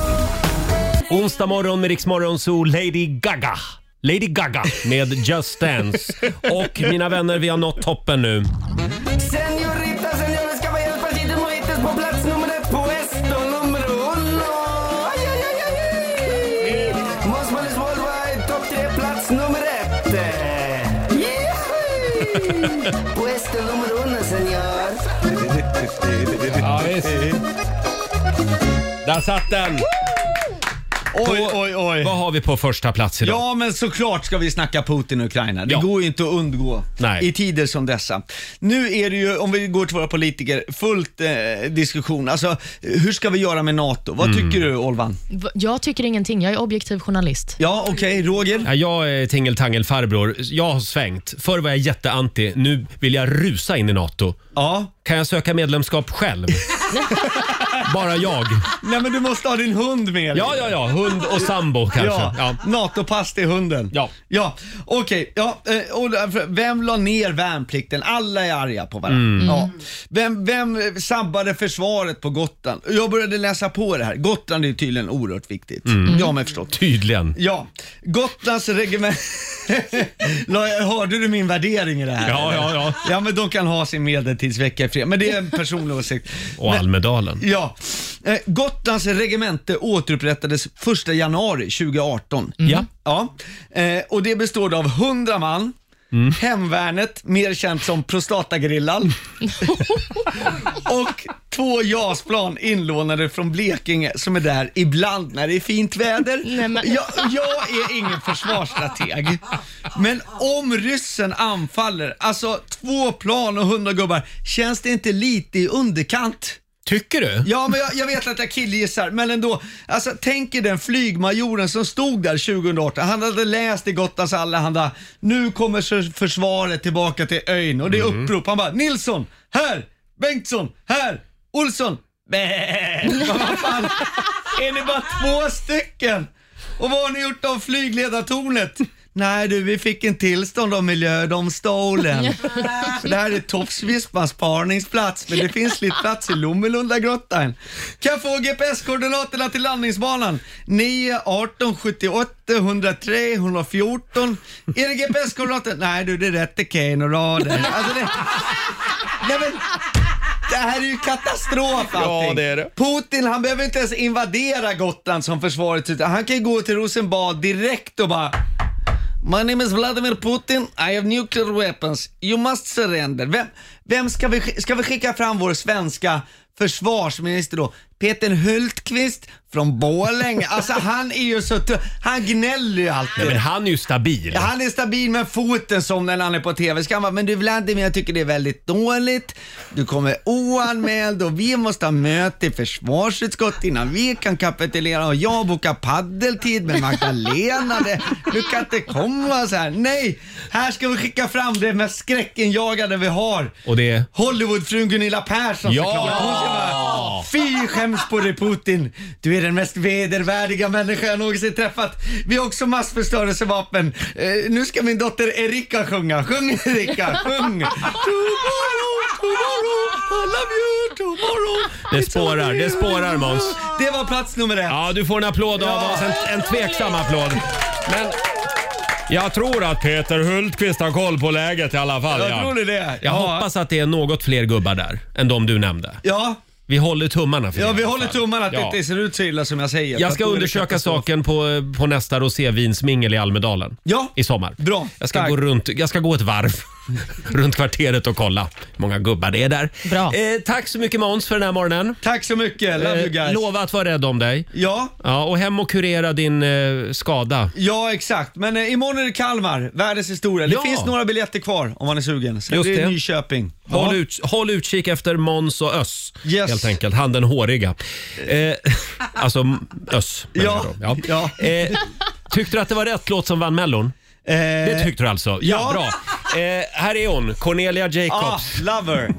S1: Onsdag morgon med Riksmorgon så Lady Gaga. Lady Gaga med Just Dance. Och mina vänner, vi har nått toppen nu.
S11: Señorita, señores, caballeros, pasitos, mojitos på plats nummer ett, puesto nummer uno. Aj, aj, aj, aj, aj. Måns Möllers Worldwide, topp tre, plats nummer ett. Yay! Puesto nummer uno, señor.
S1: Ja, visst. Där satt den!
S10: Oj, oj, oj.
S1: Vad har vi på första plats idag?
S10: Ja, men såklart ska vi snacka Putin och Ukraina. Det
S1: Ja.
S10: går ju inte att undgå
S1: Nej.
S10: i tider som dessa. Nu är det ju, om vi går till våra politiker, fullt eh, diskussion. Alltså, hur ska vi göra med NATO? Vad
S1: Mm.
S10: tycker du, Olvan?
S2: V- Jag tycker ingenting. Jag är objektiv journalist.
S10: Ja, okej. Roger?
S1: Ja, jag är tingeltangelfarbror. Jag har svängt. Förr var jag jätteanti. Nu vill jag rusa in i NATO.
S10: Ja.
S1: Kan jag söka medlemskap själv? Bara jag.
S10: Nej, men du måste ha din hund med dig.
S1: Ja, ja, ja. Hund och sambo kanske.
S10: Ja,
S1: Ja.
S10: NATO-pass till hunden. Ja. Ja, okej. Ja, eh, och därför, vem la ner värnplikten? Alla är arga på varandra.
S1: Mm.
S10: Ja. Vem, vem sabbade försvaret på Gotland? Jag började läsa på det här. Gotland är tydligen oerhört viktigt.
S1: Mm.
S10: Det har man förstått.
S1: Tydligen.
S10: Ja, Gotlands regemente... Hörde du min värdering i det här?
S1: Ja, ja, ja.
S10: Ja, men de kan ha sin medeltidsvecka i fred. Men det är en personlig åsikt.
S1: Och
S10: Men-
S1: Almedalen.
S10: Ja. Eh, Gotlands regemente återupprättades 1 januari 2018.
S1: Ja.
S10: ja. Eh, och det består då av 100 man, Hemvärnet, mer känt som Prostatagrillan, och två JAS-plan inlånade från Blekinge som är där ibland när det är fint väder. jag, jag är ingen försvarsstrateg, men om ryssen anfaller, alltså två plan och 100 gubbar, känns det inte lite i underkant?
S1: Tycker du?
S10: Ja, men jag, jag vet att jag killgissar, men ändå. Alltså, tänk er den flygmajoren som stod där 2018. Han hade läst i Gotlands Allehanda, nu kommer så- försvaret tillbaka till ön och det är
S11: Mm.
S10: upprop. Han bara, Nilsson, här! Bengtsson, här! Olsson, bäh! Vad fan, är ni bara två stycken? Och vad har ni gjort av flygledartornet? Nej du, vi fick en tillstånd av miljödomstolen. För det här är Tofsvispans parningsplats, men det finns lite plats i Lommelundagrottan. Kan jag få GPS-koordinaterna till landningsbanan? 9, 18, 78, 103, 114. Är det GPS-koordinater? Nej du, det är rätt, det är Keno rader. Alltså det... Nej, men... Det här är ju katastrof allting.
S1: Ja, det är det.
S10: Putin han behöver inte ens invadera Gotland som försvaret utan han kan ju gå till Rosenbad direkt och bara My name is Vladimir Putin, I have nuclear weapons, you must surrender. Vem, vem ska, vi, sk- ska vi skicka fram vår svenska försvarsminister då? Peter Hultqvist från Borlänge. Alltså han är ju så tr- Han gnäller ju alltid.
S1: Nej, men han är ju stabil.
S10: Ja, han är stabil med foten som när han är på TV. Ska han bara, men du Vladimir, jag tycker det är väldigt dåligt. Du kommer oanmäld och vi måste ha möte i försvarsutskottet innan vi kan kapitulera och jag bokar paddeltid med Magdalena. Det, du kan inte komma så här. Nej, här ska vi skicka fram det mest skräckinjagade vi har.
S1: Och det är...
S10: Hollywoodfrun Gunilla Persson
S1: Ja!
S10: såklart. Hon ska bara, Fy skäms på dig Putin. Du är den mest vedervärdiga människa jag någonsin träffat. Vi har också massförstörelsevapen. Eh, nu ska min dotter Erika sjunga. Sjung Erika, sjung! Tomorrow, tomorrow, I love you tomorrow.
S1: Det spårar, det spårar Måns.
S10: Det var plats nummer ett.
S1: Ja, du får en applåd av oss. En, en tveksam applåd. Men Jag tror att Peter Hultqvist har koll på läget i alla fall.
S10: Jag
S1: ja.
S10: tror det är det.
S1: Jag
S10: Ja.
S1: hoppas att det är något fler gubbar där än de du nämnde.
S10: Ja.
S1: Vi håller tummarna för det
S10: Ja,
S1: i
S10: vi
S1: alla
S10: håller
S1: fall.
S10: tummarna att
S1: Ja.
S10: det inte ser ut så illa som jag säger.
S1: Jag
S10: För
S1: ska
S10: att då är det
S1: undersöka
S10: katastrof.
S1: saken på, eh, på nästa rosévinsmingel i Almedalen
S10: ja.
S1: i sommar.
S10: Bra.
S1: Jag ska, gå runt, jag ska gå ett varv runt kvarteret och kolla hur många gubbar det är där.
S2: Bra.
S1: Eh, tack så mycket Måns för den här morgonen. Eh,
S10: Tack så mycket. Love you guys.
S1: lova att vara rädd om dig.
S10: Ja.
S1: ja och hem och kurera din eh, skada.
S10: Ja, exakt. Men eh, imorgon är det Kalmar, världens historia. Det
S1: Ja.
S10: finns några biljetter kvar om man är sugen. Sen
S1: Just
S10: blir det
S1: det.
S10: Nyköping.
S1: Håll, ut, håll utkik efter Måns och Öss
S10: Yes.
S1: helt enkelt. Han den håriga. Eh, alltså m- Öss. menar jag då. ja. Eh, tyckte du att det var rätt låt som vann Mellon? det tyckte du alltså? Ja,
S10: Eh, ja.
S1: bra. Eh, här är hon, Cornelia
S10: Ah,
S1: Jacobs.
S10: lover.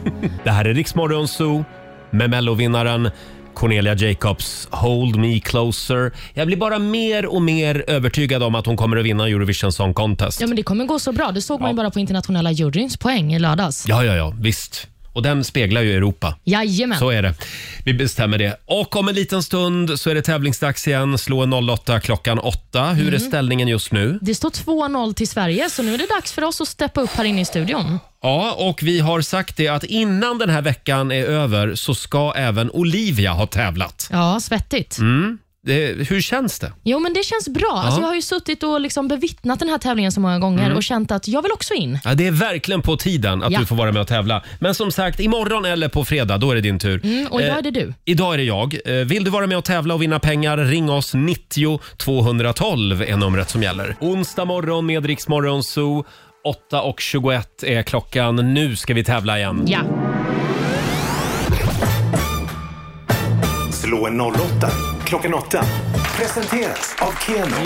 S1: Det här är Riksmorgon Zoo med Mellovinnaren Cornelia Jacobs Hold Me Closer. Jag blir bara mer och mer övertygad om att hon kommer att vinna Eurovision Song Contest.
S2: Ja, men det kommer gå så bra. Det såg man ju bara på internationella juryns poäng i lördags.
S1: Ja, ja, ja, visst. Och den speglar ju Europa.
S2: Jajamän.
S1: Så är det. Vi bestämmer det. Och om en liten stund så är det tävlingsdags igen. Slå en 08 klockan 8. Hur är
S2: Mm.
S1: ställningen just nu?
S2: Det står 2-0 till Sverige, så nu är det dags för oss att steppa upp här inne i studion.
S1: Ja, och vi har sagt det att innan den här veckan är över så ska även Olivia ha tävlat.
S2: Ja, svettigt.
S1: Mm. Det, hur känns det?
S2: Jo, men det känns bra. Alltså, jag har ju suttit och liksom bevittnat den här tävlingen så många gånger
S1: Mm.
S2: och känt att jag vill också in.
S1: Ja, det är verkligen på tiden att
S2: Ja.
S1: du får vara med och tävla. Men som sagt, imorgon eller på fredag, då är det din tur.
S2: Mm, och idag är det du.
S1: Idag är det jag. Eh, Vill du vara med och tävla och vinna pengar, ring oss 90 212 är numret som gäller. Onsdag morgon med Rix Morgon Zoo. 8.21 är klockan. Nu ska vi tävla igen.
S2: Ja.
S6: Slå en 08 klockan 8. Presenteras av Keno.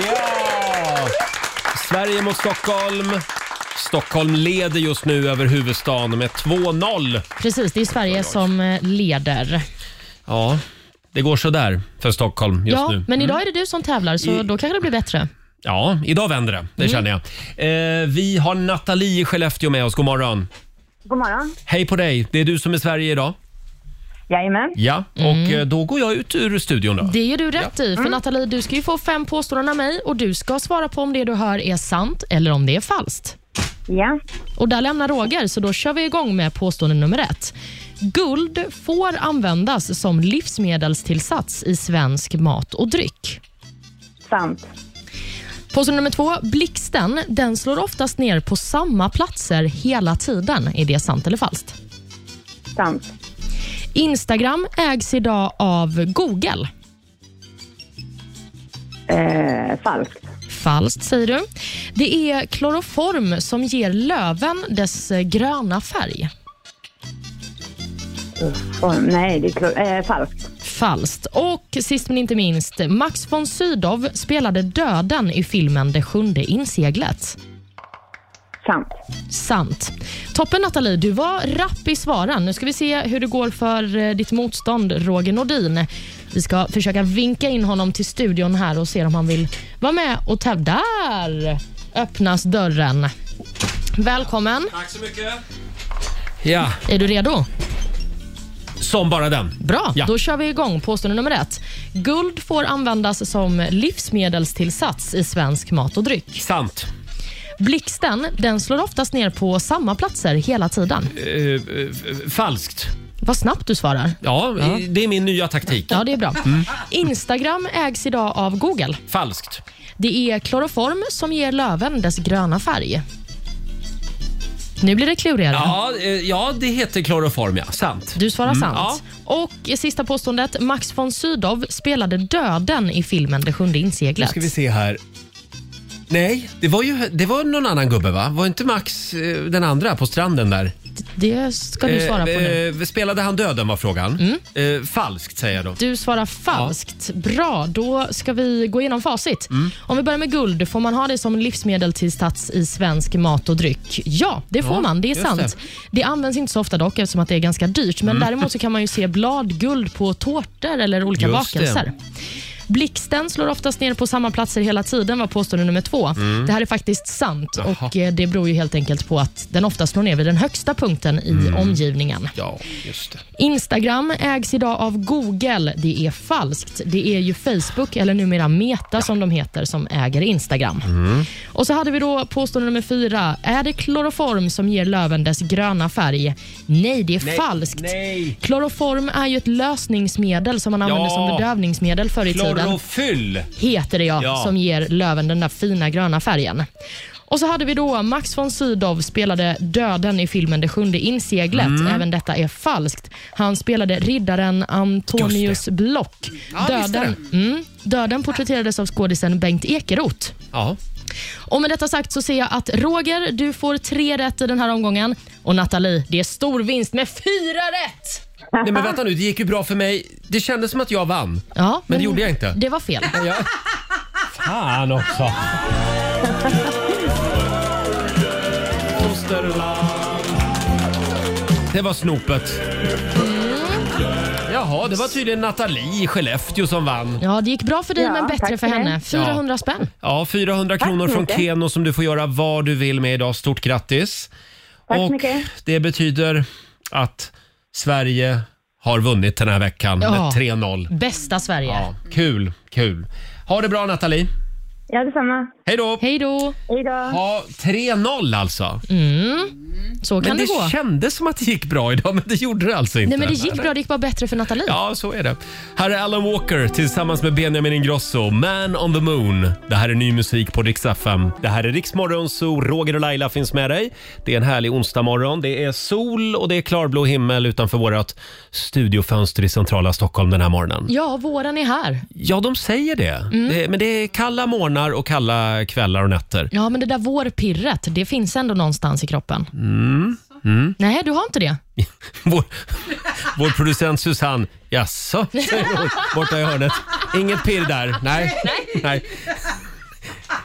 S1: Sverige mot Stockholm. Stockholm leder just nu över huvudstaden med 2-0.
S2: Precis, det är Sverige som eh, leder.
S1: Ja, det går sådär för Stockholm just
S2: ja,
S1: nu. Mm.
S2: Men idag är det du som tävlar, så då kanske det blir bättre.
S1: Ja, idag vänder det. Det känner jag. Eh, vi har Nathalie i Skellefteå med oss. God morgon.
S7: God morgon.
S1: Hej på dig. Det är du som är Sverige idag.
S7: Jajamän.
S1: Ja,
S2: Mm.
S1: och eh, då går jag ut ur studion då.
S2: Det gör du rätt i. För
S1: Mm.
S2: Nathalie, du ska ju få fem påståenden av mig och du ska svara på om det du hör är sant eller om det är falskt.
S7: Ja.
S2: Och där lämnar Roger, så då kör vi igång med påstående nummer ett. Guld får användas som livsmedelstillsats i svensk mat och dryck.
S7: Sant.
S2: Påstående nummer två. Blixten, den slår oftast ner på samma platser hela tiden. Är det sant eller falskt?
S7: Sant.
S2: Instagram ägs idag av Google.
S7: Eh, falskt.
S2: Falskt, säger du. Det är kloroform som ger löven dess eh, gröna färg.
S7: Åh, nej, det är klo- eh, falskt.
S2: Falskt. Och sist men inte minst, Max von Sydow spelade döden i filmen Det sjunde inseglet.
S7: Sant.
S2: Sant. Toppen Nathalie, du var rapp i svaren. Nu ska vi se hur det går för eh, ditt motstånd Roger Nordin. Vi ska försöka vinka in honom till studion här och se om han vill vara med och tävla. Där öppnas dörren. Välkommen.
S1: Tack så mycket. Ja,
S2: Är du redo?
S1: som bara den.
S2: Bra,
S1: Ja.
S2: då kör vi igång. Påstående nummer ett. Guld får användas som livsmedelstillsats i svensk mat och dryck.
S1: Sant.
S2: Blixten, den slår oftast ner på samma platser hela tiden.
S1: Eh, eh, falskt.
S2: Vad snabbt du svarar.
S1: Ja,
S2: Ja.
S1: eh, det är min nya taktik.
S2: Ja, det är bra.
S1: Mm.
S2: Instagram ägs idag av Google.
S1: Falskt.
S2: Det är kloroform som ger löven dess gröna färg. Nu blir det klurigare.
S1: Ja, eh, ja, det heter kloroform, ja. Sant.
S2: Du svarar
S1: Mm,
S2: sant.
S1: Ja.
S2: Och sista påståendet. Max von Sydow spelade döden i filmen Det sjunde
S1: Nu
S2: inseglet.
S1: ska vi se här. Nej, det var ju det var någon annan gubbe, va? Var inte Max eh, den andra på stranden där?
S2: Det ska du svara på nu. Mm.
S1: Eh, eh, Spelade han döden var frågan. Eh, falskt säger jag då.
S2: Du svarar falskt. Bra, då ska vi gå igenom facit.
S9: Mm.
S2: Om vi börjar med guld, får man ha det som livsmedel till stats i svensk mat och dryck? Ja, det får
S9: Ja,
S2: man. Det är
S9: just
S2: sant. Det.
S9: det.
S2: används inte så ofta dock eftersom att det är ganska dyrt, men
S9: Mm.
S2: däremot så kan man ju se bladguld på tårtor eller olika
S9: Just
S2: bakelser. Blixten slår oftast ner på samma platser hela tiden, var påstående nummer två.
S3: Mm.
S2: Det här är faktiskt sant och eh, det beror ju helt enkelt på att den ofta slår ner vid den högsta punkten i
S12: Mm.
S2: omgivningen.
S12: Ja, just det.
S2: Instagram ägs idag av Google. Det är falskt. Det är ju Facebook, eller numera Meta som de heter, som äger Instagram. Och så hade vi då påstående nummer fyra. Är det kloroform som ger löven dess gröna färg? Nej, det är
S12: Nej,
S2: falskt.
S12: nej.
S2: Kloroform är ju ett lösningsmedel som man använde
S12: Ja.
S2: som bedövningsmedel förr i tiden.
S1: Klorofyll!
S2: Heter det ja,
S12: Ja.
S2: som ger löven den där fina gröna färgen. Och så hade vi då Max von Sydow spelade döden i filmen Det sjunde inseglet.
S12: Mm.
S2: Även detta är falskt. Han spelade riddaren Antonius Block.
S12: Ja, visst är
S2: döden, mm, döden porträtterades av skådisen Bengt Ekeroth.
S1: Ja.
S2: Och med detta sagt så ser jag att Roger, du får tre rätt i den här omgången. Och Nathalie, det är stor vinst med fyra rätt!
S1: Nej men vänta nu, det gick ju bra för mig. Det kändes som att jag vann.
S2: Ja,
S1: men det gjorde jag inte.
S2: Det var fel.
S1: Ja. Fan också. Det var snopet. Mm. Jaha, det var tydligen Nathalie i Skellefteå som vann.
S2: Ja, det gick bra för dig
S12: Ja,
S2: men bättre
S12: tack
S2: för
S12: för det.
S2: henne. 400 spänn.
S1: Ja, 400 kronor
S2: så
S1: från
S2: mycket.
S1: Keno som du får göra vad du vill med idag. Stort grattis!
S2: Tack så
S1: Och
S2: mycket.
S1: det betyder att Sverige har vunnit den här veckan
S2: Ja.
S1: med 3-0.
S2: Bästa Sverige.
S1: Ja, kul, kul. Ha det bra Nathalie.
S2: Ja, detsamma.
S1: Hej då!
S2: Hej då! Hej då!
S1: Ja, 3-0 alltså.
S2: Mm. Så kan
S1: men
S2: det,
S1: det,
S2: gå.
S1: kändes som att det gick bra idag, men det gjorde det alltså inte.
S2: Nej, men det gick bra. Det gick bara bättre för Nathalie.
S1: Ja, så är det. Här är Alan Walker tillsammans med Benjamin Ingrosso, Man on the Moon. Det här är ny musik på Rix FM. Det här är Rix Morgon, så Roger och Laila finns med dig. Det är en härlig onsdagmorgon. Det är sol och det är klarblå himmel utanför vårt studiofönster i centrala Stockholm den här morgonen. Mm.
S2: Ja, våren är här.
S1: Ja, de säger det. det. Men det är kalla morgnar och kalla kvällar och nätter.
S2: Ja, men det där vårpirret, det finns ändå någonstans i kroppen.
S1: Mm. Mm.
S2: Nej, du har inte det?
S1: Vår, vår producent Susanne, jaså, säger hon borta i hörnet. Inget pirr där, nej. nej.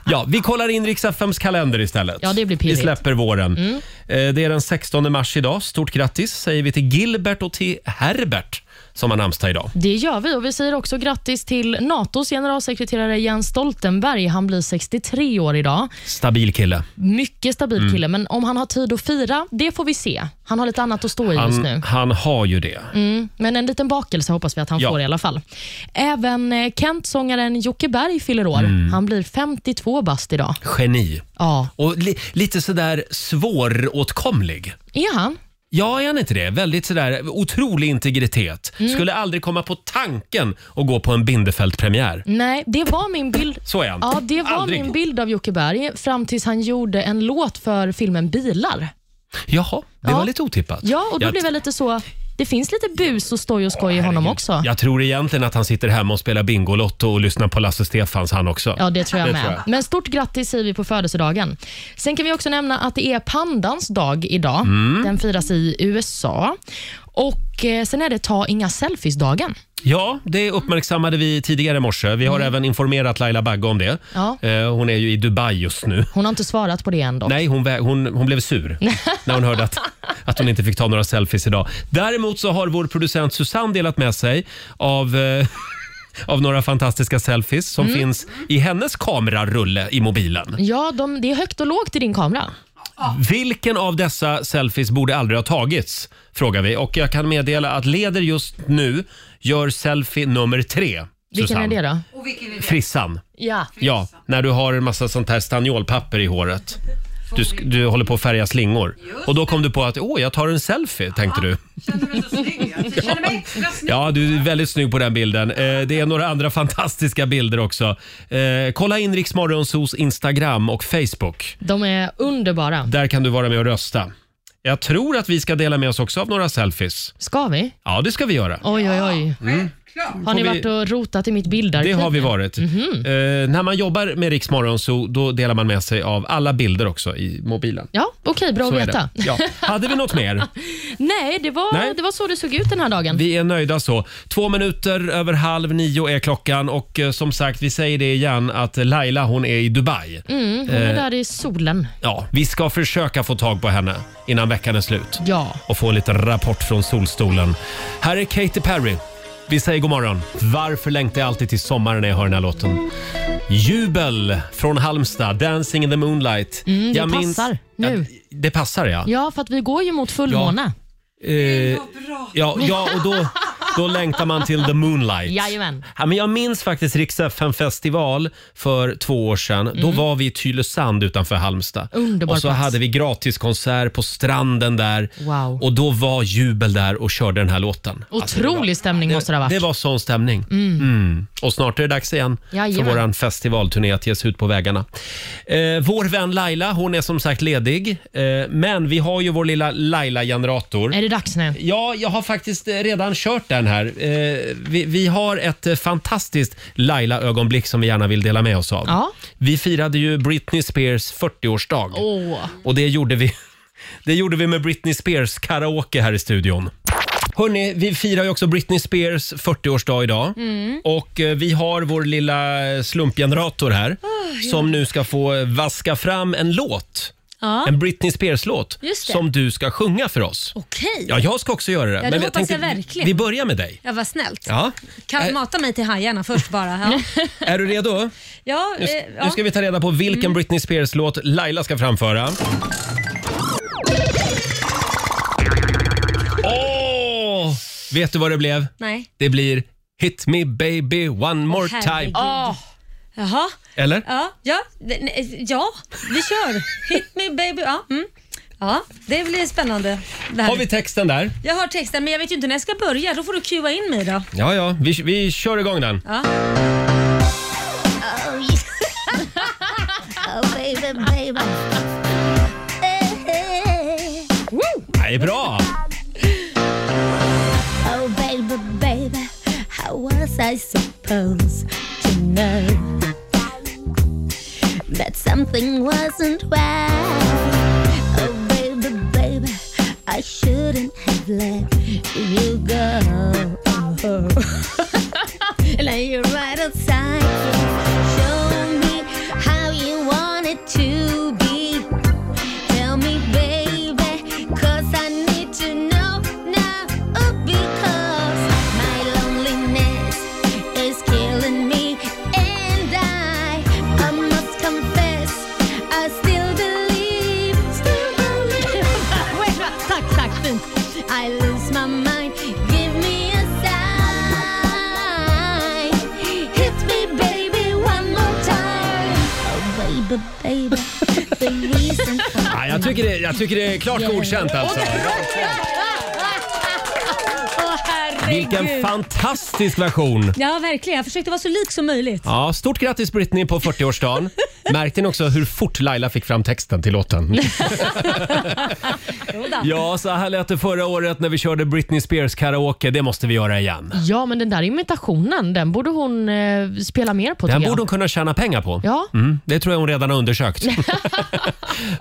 S1: Ja, vi kollar in riks FMs kalender istället.
S2: Ja, det blir
S1: Vi
S2: pirrigt.
S1: släpper våren.
S2: Mm.
S1: Eh, Det är den 16 mars idag. Stort grattis säger vi till Gilbert och till Herbert som har namnsdag idag.
S2: Det gör vi och vi säger också grattis till NATOs generalsekreterare Jens Stoltenberg. Han blir 63 år idag.
S1: Stabil kille.
S2: Mycket stabil
S1: Mm.
S2: kille, men om han har tid att fira, det får vi se. Han har lite annat att stå i just nu.
S1: Han, han har ju det.
S2: Mm, men en liten bakelse hoppas vi att han
S1: Ja.
S2: får i alla fall. Även eh, Kent-sångaren Jocke Berg fyller år.
S1: Mm.
S2: Han blir 52 bast idag.
S1: Geni.
S2: Ja.
S1: Och li, lite sådär svåråtkomlig.
S2: Är han?
S1: Ja, är han inte det? Väldigt sådär, otrolig integritet.
S2: Mm.
S1: Skulle aldrig komma på tanken att gå på en Bindefeld-premiär.
S2: Nej, det var min bild.
S1: Så är han.
S2: Ja, det var
S1: Aldrig.
S2: min bild av Jocke Berg fram tills han gjorde en låt för filmen Bilar.
S1: Jaha, det
S2: Ja.
S1: var lite otippat.
S2: Ja, och då
S1: jag,
S2: blev jag lite så... Det finns lite bus och stoj och skoj i honom också.
S1: jag tror egentligen att han sitter hemma och spelar Bingolotto och lyssnar på Lasse Stefans han också.
S2: Ja, det tror jag med. Men stort grattis säger vi på födelsedagen. Sen kan vi också nämna att det är pandans dag idag.
S1: Mm.
S2: Den firas i USA. Och eh, Sen är det ta inga selfies-dagen.
S1: Ja, det uppmärksammade vi tidigare i morse. Vi har även informerat Laila Bagge om det.
S2: Mm. Ja.
S1: Eh, Hon är ju i Dubai just nu.
S2: Hon har inte svarat på det än dock.
S1: Nej, hon, vä- hon, hon blev sur när hon hörde att, att hon inte fick ta några selfies idag. Däremot så har vår producent Susanne delat med sig av, eh, av några fantastiska selfies som
S2: Mm.
S1: finns i hennes kamerarulle i mobilen.
S2: Ja, de, det är högt och lågt i din kamera.
S1: Vilken av dessa selfies borde aldrig ha tagits? Frågar vi. Och jag kan meddela att leder just nu gör selfie nummer tre.
S2: Vilken
S1: Susanne.
S2: är det då?
S1: Frissan.
S2: Ja.
S1: Ja, när du har en massa sånt här stanniolpapper i håret. Du, sk- du håller på att färga slingor. Och då kom du på att åh, jag tar en selfie, tänkte du.
S5: Jag känner mig extra snygg.
S1: Ja, du är väldigt snygg på den bilden. Eh, det är några andra fantastiska bilder också. Eh, kolla in Rix Morgonzos Instagram och Facebook.
S2: De är underbara.
S1: Där kan du vara med och rösta. Jag tror att vi ska dela med oss också av några selfies.
S2: Ska vi?
S1: Ja, det ska vi göra.
S2: Oj, oj, oj.
S1: Mm.
S2: Har ni
S1: Får vi-
S2: varit och rotat i mitt bildarkiv?
S1: Det har vi varit. Eh, när man jobbar med Rix Morgonzoo, då delar man med sig av alla bilder också i mobilen.
S2: Ja, okej, bra att
S1: Så är det.
S2: veta.
S1: Ja. Hade vi något mer?
S2: Nej, det var,
S1: Nej.
S2: det var så det såg ut den här dagen.
S1: Vi är nöjda så. Två minuter över halv nio är klockan och eh, som sagt, vi säger det igen att Laila hon är i Dubai.
S2: Mm, hon är
S1: Eh.
S2: där i solen.
S1: Ja, vi ska försöka få tag på henne innan veckan är slut.
S2: Ja.
S1: Och få en liten rapport från solstolen. Här är Katy Perry. Vi säger god morgon. Varför längtar jag alltid till sommaren när jag hör den här låten? Jubel från Halmstad, Dancing in the moonlight.
S3: Mm, det
S1: jag
S3: passar nu.
S1: Ja, det passar ja.
S3: Ja, för att vi går ju mot fullmåne.
S1: Eh, ja, ja och då, då längtar man till the moonlight.
S3: Jajamän.
S1: Ja, men jag minns faktiskt Rix festival för två år sedan. Då
S3: Mm.
S1: var vi i Tylösand utanför Halmstad.
S3: Underbar
S1: och så
S3: plats.
S1: hade vi gratiskonsert på stranden där.
S3: Wow.
S1: Och då var Jubel där och körde den här låten.
S3: Otrolig stämning måste det ha varit.
S1: Det Alltså, var sån stämning.
S3: Mm.
S1: Mm. Och snart är det dags igen
S3: Jajamän.
S1: för våran festivalturné att ge sig ut på vägarna. Eh, vår vän Laila, hon är som sagt ledig. Eh, men vi har ju vår lilla Laila-generator.
S3: Är det dags nu?
S1: Ja, jag har faktiskt eh, redan kört den här. Eh, vi, vi har ett eh, fantastiskt Laila-ögonblick som vi gärna vill dela med oss av.
S3: Ja.
S1: Vi firade ju Britney Spears 40-årsdag
S3: Åh.
S1: och det gjorde vi. Det gjorde vi med Britney Spears karaoke här i studion. Hörni, vi firar ju också Britney Spears 40-årsdag idag.
S11: Mm.
S1: Och eh, vi har vår lilla eh, slumpgenerator här
S9: Ah, ja.
S1: som nu ska få eh, vaska fram en låt.
S9: Ja.
S1: En Britney Spears-låt
S9: Just det.
S1: som du ska sjunga för oss.
S9: Okej.
S1: Ja, jag ska också göra det.
S9: Ja, det
S1: jag
S9: hoppas jag
S1: tänkte-
S9: verkligen.
S1: Vi börjar med dig.
S9: Ja, vad snällt.
S1: Ja.
S9: Kan
S1: Är-
S9: mata mig till hajarna först bara. Ja.
S1: Är du redo?
S9: Ja,
S1: Nu,
S9: eh, ja.
S1: nu ska vi ta reda på vilken
S9: Mm.
S1: Britney Spears-låt Laila ska framföra. Åh! Vet du vad det blev?
S9: Nej.
S1: Det blir Hit me baby one more time.
S9: Herregud. Jaha.
S1: Eller?
S9: Ja, ja, det- nej, ja, vi kör. Hit me baby. Ja, mm. ja det blir spännande. Det här.
S1: Har vi texten där?
S9: Jag har texten men jag vet ju inte när jag ska börja. Då får du cuea in mig då.
S1: Ja, ja. Vi, vi kör igång den.
S9: Ja.
S12: Oh,
S1: Det är bra!
S12: Oh baby, baby, how was I supposed to know that something wasn't right? Oh baby, baby, I shouldn't have let you go. now you're right outside. yeah. Show me how you want it to be. Tell me, baby, cause I need to know now. Oh, because my loneliness is killing me, and I, I must confess, I still believe, still believe. Wait, tack, tack, fint. I lose my mind. Give me a sign. Hit me, baby, one more time. Oh, baby, baby, the reason for
S1: Ja, jag, tycker det, jag tycker det är klart godkänt alltså.
S9: Åh, herregud.
S1: Vilken fantastisk version!
S9: Ja, verkligen. Jag försökte vara så lik som möjligt.
S1: Ja, stort grattis Britney på 40-årsdagen. Märkte ni också hur fort Laila fick fram texten till låten? Ja, så här lät det förra året när vi körde Britney Spears karaoke. Det måste vi göra igen.
S3: Ja, men den där imitationen, den borde hon eh, spela mer på.
S1: Den
S3: tycker jag.
S1: borde hon kunna tjäna pengar på.
S3: Ja.
S1: Mm, det tror jag hon redan har undersökt.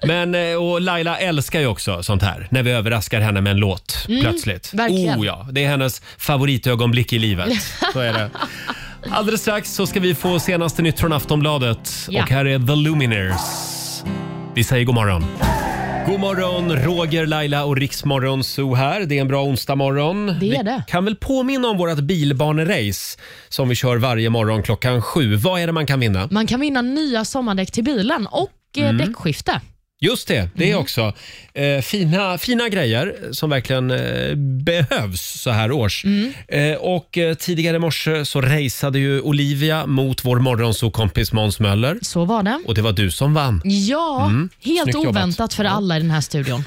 S1: Men, eh, och Laila älskar ju också sånt här, när vi överraskar henne med en låt
S11: Mm,
S1: plötsligt.
S11: verkligen.
S1: Oh, ja, det är hennes favoritögonblick i livet. Så är det. Alldeles strax så ska vi få senaste nytt från Aftonbladet.
S11: Ja.
S1: Och här är The Lumineers. Vi säger god morgon. God morgon, Roger, Laila och Riksmorgon Zoo här. Det är en bra onsdag morgon.
S3: Det är
S1: vi
S3: det.
S1: kan väl påminna om vårt bilbanerace som vi kör varje morgon klockan sju. Vad är det man kan vinna?
S3: Man kan vinna nya sommardäck till bilen och eh,
S1: Mm.
S3: däckskifte.
S1: Just det, det också. Eh, fina, fina grejer som verkligen eh, behövs så här års. Eh, och eh, tidigare i morse så raceade ju Olivia mot vår morgonsokompis Måns Möller.
S3: Så var det.
S1: Och det var du som vann.
S3: Ja,
S1: Mm,
S3: helt
S1: snyggt jobbat.
S3: oväntat för alla i den här studion.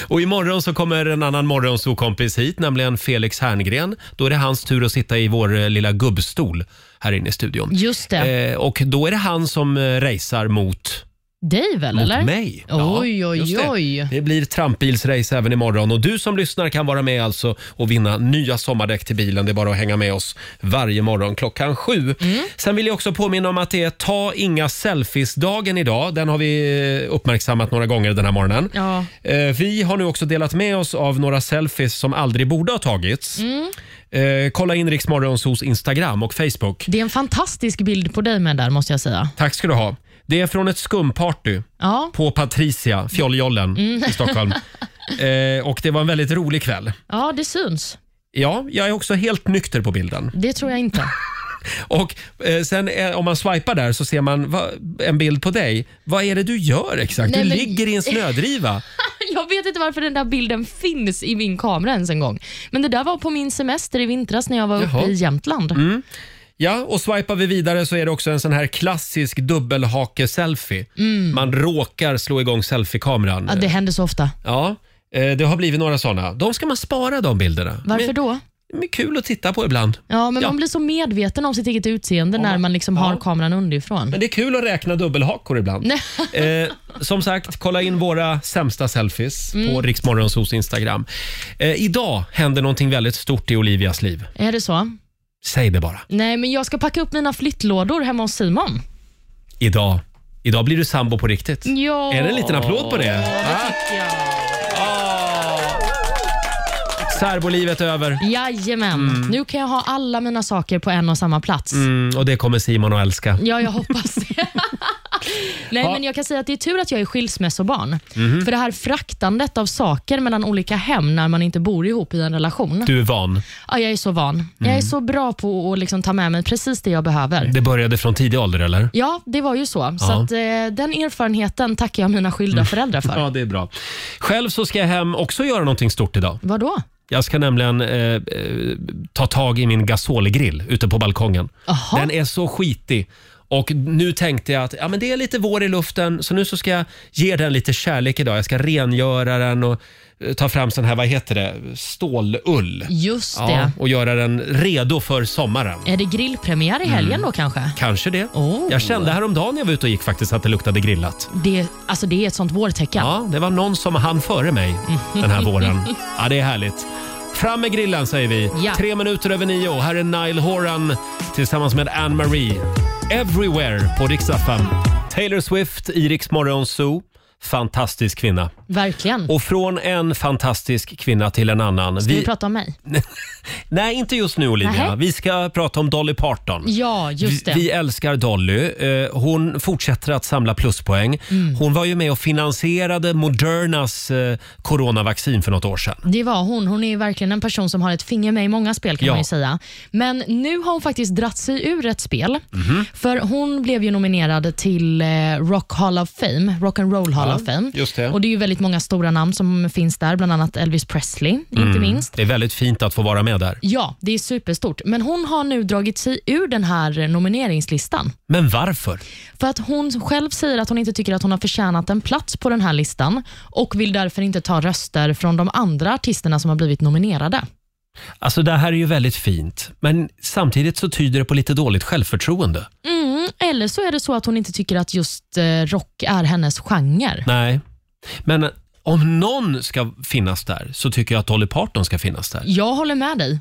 S1: Och imorgon så kommer en annan morgonsokompis hit, nämligen Felix Herngren. Då är det hans tur att sitta i vår eh, lilla gubbstol här inne i studion.
S3: Just det.
S1: Eh, och då är det han som eh, racear mot
S3: Dig väl,
S1: Mot
S3: eller?
S1: mig?
S3: Oj,
S1: Ja, just
S3: oj,
S1: det.
S3: oj.
S1: Det blir trampbilsrace även imorgon och du som lyssnar kan vara med alltså och vinna nya sommardäck till bilen. Det är bara att hänga med oss varje morgon klockan sju.
S3: Mm.
S1: Sen vill jag också påminna om att det är ta inga selfies-dagen idag. Den har vi eh, uppmärksammat några gånger den här morgonen.
S3: Ja.
S1: Eh, Vi har nu också delat med oss av några selfies som aldrig borde ha tagits.
S3: Mm.
S1: Eh, Kolla in Rix Morgonzos Instagram och Facebook.
S3: Det är en fantastisk bild på dig med där, måste jag säga.
S1: Tack ska du ha. Det är från ett skumparty
S3: Ja.
S1: på Patricia, Fjolljollen
S3: Mm.
S1: i Stockholm. Eh, och det var en väldigt rolig kväll.
S3: Ja, det syns.
S1: Ja, jag är också helt nykter på bilden.
S2: Det tror jag inte.
S1: Och eh, sen eh, om man swipar där så ser man va, en bild på dig. Vad är det du gör exakt?
S2: Nej,
S1: du
S2: men-
S1: ligger i en snödriva.
S2: Jag vet inte varför den där bilden finns i min kamera ens en gång. Men det där var på min semester i vintras när jag var
S1: Jaha.
S2: uppe i Jämtland.
S1: Mm. Ja, och swipar vi vidare så är det också en sån här klassisk dubbelhake-selfie.
S2: Mm.
S1: Man råkar slå igång selfiekameran.
S2: Ja, det händer så ofta.
S1: Ja, eh, det har blivit några såna. De ska man spara de bilderna.
S2: Varför då?
S1: Men, men kul att titta på ibland.
S2: Ja, men man blir så medveten om sitt eget utseende när man liksom har kameran underifrån.
S1: Men det är kul att räkna dubbelhakor ibland.
S2: Nej.
S1: Eh, som sagt, kolla in våra sämsta selfies på
S2: Mm.
S1: Riksmorgonsos Instagram. Eh, idag händer någonting väldigt stort i Olivias liv.
S2: Är det så?
S1: Säg det bara.
S2: Nej, men jag ska packa upp mina flyttlådor hemma hos Simon.
S1: Idag. Idag blir du sambo på riktigt.
S2: Ja.
S1: Är det en liten applåd på det? Ah. Särbolivet över.
S2: Jajamän.
S1: Mm.
S2: Nu kan jag ha alla mina saker på en och samma plats.
S1: Mm, och det kommer Simon att älska.
S2: Ja, jag hoppas det. Nej,
S1: Ja.
S2: men jag kan säga att det är tur att jag är skilsmässobarn.
S1: Mhm.
S2: För det här fraktandet av saker mellan olika hem när man inte bor ihop i en relation.
S1: Du Mhm. är van.
S2: Ja, jag är så van. Jag är så bra på att liksom ta med mig precis det jag behöver.
S1: Det började från tidig ålder, eller?
S2: Ja, det var ju så. Så
S1: Ja. Mm.
S2: att, eh, den erfarenheten tackar jag mina skilda föräldrar för.
S1: Ja, det är bra. Själv så ska jag hem också göra någonting stort idag.
S2: Vad då?
S1: Jag ska nämligen eh, eh, ta tag i min gasolgrill ute på balkongen. Den är så skitig. Och nu tänkte jag att ja, men det är lite vår i luften, så nu så ska jag ge den lite kärlek idag. Jag ska rengöra den och eh, ta fram sån här, vad heter det, stålull.
S2: Just
S1: Ja,
S2: det.
S1: och göra den redo för sommaren.
S2: Är det grillpremiär i helgen
S1: Mm. Oh.
S2: då kanske?
S1: Kanske det.
S2: Oh.
S1: Jag kände häromdagen när jag var ute och gick faktiskt att det luktade grillat.
S2: Det, alltså det är ett sånt vårtecken.
S1: Ja, det var någon som hann före mig den här våren. Ja, det är härligt. Fram med grillen säger vi.
S2: Ja.
S1: Tre minuter över nio. Här är Nile Horan tillsammans med Anne Marie. Everywhere på riksdag Taylor Swift i Rix Morgon Zoo. Fantastisk kvinna.
S2: Verkligen.
S1: Och från en fantastisk kvinna till en annan.
S2: Ska vi prata om mig?
S1: Nej, inte just nu Olivia.
S2: Nähä.
S1: Vi ska prata om Dolly Parton.
S2: Ja, just
S1: Vi,
S2: det.
S1: vi älskar Dolly. Eh, Hon fortsätter att samla pluspoäng.
S2: Mm.
S1: Hon var ju med och finansierade Modernas eh, coronavaccin för något år sedan.
S2: Det var hon. Hon är ju verkligen en person som har ett finger med i många spel kan
S1: Ja.
S2: man ju säga. Men nu har hon faktiskt dratt sig ur ett spel.
S12: Mhm.
S2: För hon blev ju nominerad till eh, Rock Hall of Fame, Rock and Roll Hall
S1: Ja,
S2: of Fame.
S1: just det.
S2: Och det är ju väldigt många stora namn som finns där, bland annat Elvis Presley, inte
S1: Mm.
S2: minst.
S1: Det är väldigt fint att få vara med där.
S2: Ja, det är superstort. Men hon har nu dragit sig ur den här nomineringslistan.
S1: Men varför?
S2: För att hon själv säger att hon inte tycker att hon har förtjänat en plats på den här listan och vill därför inte ta röster från de andra artisterna som har blivit nominerade.
S1: Alltså det här är ju väldigt fint, men samtidigt så tyder det på lite dåligt självförtroende.
S2: Mm, eller så är det så att hon inte tycker att just eh, rock är hennes genre.
S1: Nej, men om någon ska finnas där så tycker jag att Dolly Parton ska finnas där.
S2: Jag håller med dig.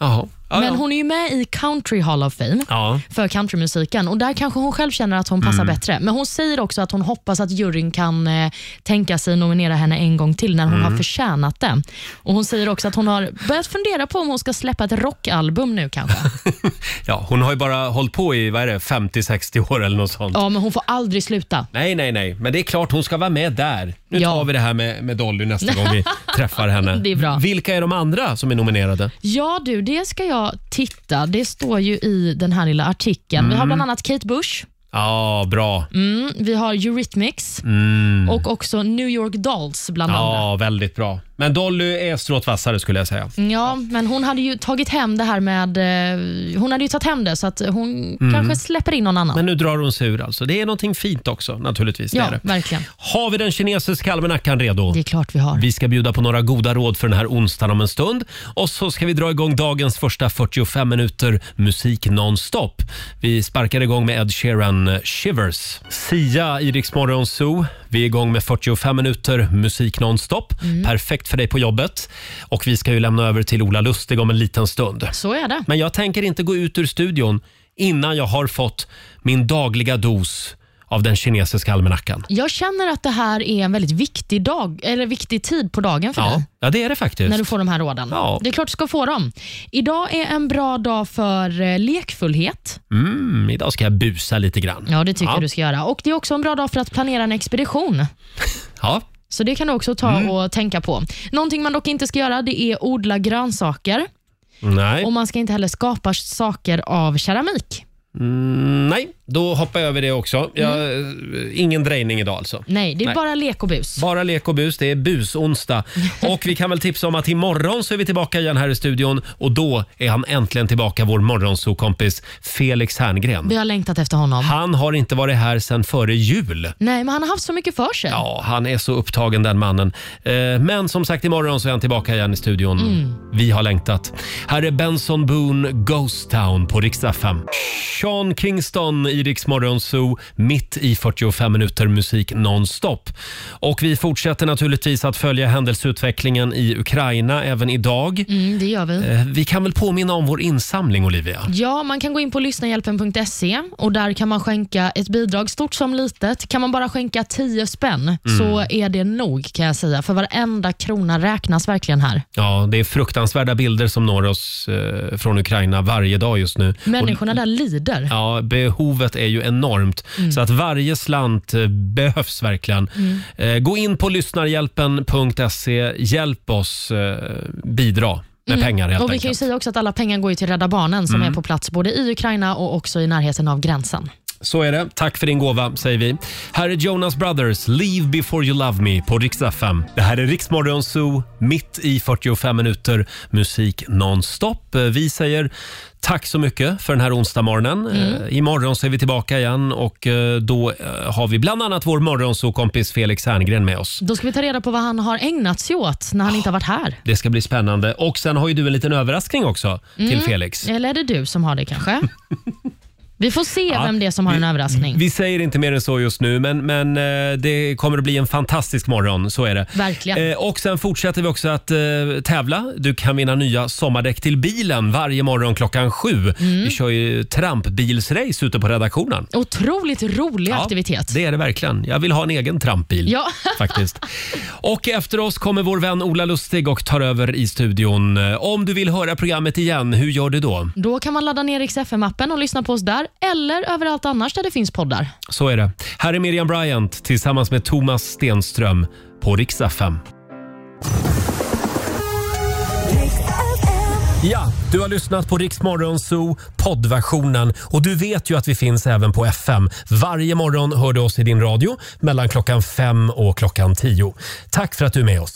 S1: Jaha. Ja,
S2: Men
S1: ja.
S2: hon är ju med i Country Hall of Fame
S1: Ja.
S2: för countrymusiken och där kanske hon själv känner att hon passar
S1: Mm.
S2: bättre. Men hon säger också att hon hoppas att juryn kan eh, tänka sig nominera henne en gång till när hon
S1: Mm.
S2: har förtjänat det. Och Hon säger också att hon har börjat fundera på om hon ska släppa ett rockalbum nu kanske.
S1: ja, hon har ju bara hållit på i, vad är det, 50-60 år eller något sånt.
S2: Ja, men hon får aldrig sluta.
S1: Nej, nej, nej. Men det är klart hon ska vara med där. Nu tar vi det här med, med Dolly nästa gång vi träffar henne.
S2: Det är bra.
S1: Vilka är de andra som är nominerade?
S2: Ja du, det ska jag titta. Det står ju i den här lilla artikeln. Vi har
S1: Mm.
S2: bland annat Kate Bush,
S1: Ja, bra.
S2: mm, vi har Eurythmics
S1: Mm.
S2: och också New York Dolls bland annat.
S1: Ja, väldigt bra. Men Dolly är strået vassare skulle jag säga.
S2: Ja, men hon hade ju tagit hem det här med... eh, Hon hade ju tagit hem det, så att hon
S1: Mm.
S2: kanske släpper in någon annan.
S1: Men nu drar hon sig ur alltså. Det är någonting fint också naturligtvis. Det
S2: ja,
S1: är det.
S2: verkligen.
S1: Har vi den kinesiska almanackan redo?
S2: Det är klart vi har.
S1: Vi ska bjuda på några goda råd för den här onsdagen om en stund. Och så ska vi dra igång dagens första 45 minuter musik nonstop. Vi sparkar igång med Ed Sheeran eh, Shivers. Sia i Rix Morgon Zoo. Vi är igång med 45 minuter musik nonstop.
S2: Mm.
S1: Perfekt för dig på jobbet. Och vi ska ju lämna över till Ola Lustig om en liten stund.
S2: Så är det.
S1: Men jag tänker inte gå ut ur studion innan jag har fått min dagliga dos av den kinesiska almanackan.
S2: Jag känner att det här är en väldigt viktig, dag, eller viktig tid på dagen för
S1: Ja,
S2: dig.
S1: ja, det är det faktiskt.
S2: När du får de här råden.
S1: Ja.
S2: Det är klart du ska få dem. Idag är en bra dag för eh, lekfullhet.
S1: Mm, idag ska jag busa lite grann.
S2: Ja, det tycker jag du ska göra. Och Det är också en bra dag för att planera en expedition.
S1: Ja, Mm.
S2: Så det kan du också ta och tänka på. Någonting man dock inte ska göra det är odla grönsaker.
S1: Nej.
S2: Och man ska inte heller skapa saker av keramik.
S1: Mm, nej, då hoppar jag över det också. Jag,
S2: Mm.
S1: eh, Ingen drejning idag alltså.
S2: Nej, det är bara lek och bus.
S1: Bara lek och bus. Det är busonsdag. Och vi kan väl tipsa om att imorgon så är vi tillbaka igen här i studion och då är han äntligen tillbaka, vår morgonsokompis Felix Herngren.
S2: Vi har längtat efter honom.
S1: Han har inte varit här sedan före jul.
S2: Nej, men han har haft så mycket för sig.
S1: Ja, han är så upptagen den mannen. Eh, Men som sagt, imorgon så är han tillbaka igen i studion.
S2: Mm.
S1: Vi har längtat. Här är Benson Boone, Ghost Town på riksdag 5. Sean Kingston i Rix Morgon Zoo, mitt i 45 minuter musik nonstop. Och vi fortsätter naturligtvis att följa händelseutvecklingen i Ukraina även idag.
S2: Mm, det gör vi.
S1: Eh, Vi kan väl påminna om vår insamling, Olivia?
S2: Ja, man kan gå in på lyssnahjälpen.se och där kan man skänka ett bidrag, stort som litet. Kan man bara skänka 10 spänn
S1: Mm.
S2: så är det nog kan jag säga, för varenda krona räknas verkligen här.
S1: Ja, det är fruktansvärda bilder som når oss eh, från Ukraina varje dag just nu.
S2: Människorna
S1: Och-
S2: där lider.
S1: Ja, behovet är ju enormt.
S2: Mm.
S1: Så att varje slant eh, behövs verkligen.
S2: Mm.
S1: Eh, Gå in på lyssnarhjälpen.se. Hjälp oss eh, bidra med
S2: Mm.
S1: pengar helt
S2: och Vi
S1: enkelt.
S2: kan ju säga också att alla pengar går ju till Rädda Barnen som
S1: Mm.
S2: är på plats både i Ukraina och också i närheten av gränsen.
S1: Så är det. Tack för din gåva, säger vi. Här är Jonas Brothers, Leave before you love me på riksdag 5. Det här är Riksmorgon Zoo, mitt i 45 minuter musik nonstop. Eh, Vi säger tack så mycket för den här onsdagmorgonen.
S11: Mm.
S1: Eh, Imorgon så är vi tillbaka igen och eh, då eh, har vi bland annat vår morgonsokompis Felix Herngren med oss.
S2: Då ska vi ta reda på vad han har ägnat sig åt när han inte har varit här.
S1: Det ska bli spännande. Och sen har ju du en liten överraskning också till
S2: Mm.
S1: Felix.
S2: Eller är det du som har det kanske? vi får se vem det är som har en överraskning.
S1: Vi säger inte mer än så just nu, men, men eh, det kommer att bli en fantastisk morgon. Så är det.
S2: Verkligen.
S1: Eh, Och sen fortsätter vi också att eh, tävla. Du kan vinna nya sommardäck till bilen varje morgon klockan sju.
S2: Mm.
S1: Vi kör ju trampbilsrace ute på redaktionen.
S2: Otroligt rolig aktivitet.
S1: Det är det verkligen. Jag vill ha en egen trampbil.
S2: Ja.
S1: Faktiskt. Och efter oss kommer vår vän Ola Lustig och tar över i studion. Eh, Om du vill höra programmet igen, hur gör du då?
S2: Då kan man ladda ner Rix FM-appen och lyssna på oss där eller överallt annars där det finns poddar.
S1: Så är det. Här är Miriam Bryant tillsammans med Thomas Stenström på Riksdag 5. Ja, du har lyssnat på Riksmorgon Zoo poddversionen och du vet ju att vi finns även på FM. Varje morgon hör du oss i din radio mellan klockan fem och klockan tio. Tack för att du är med oss.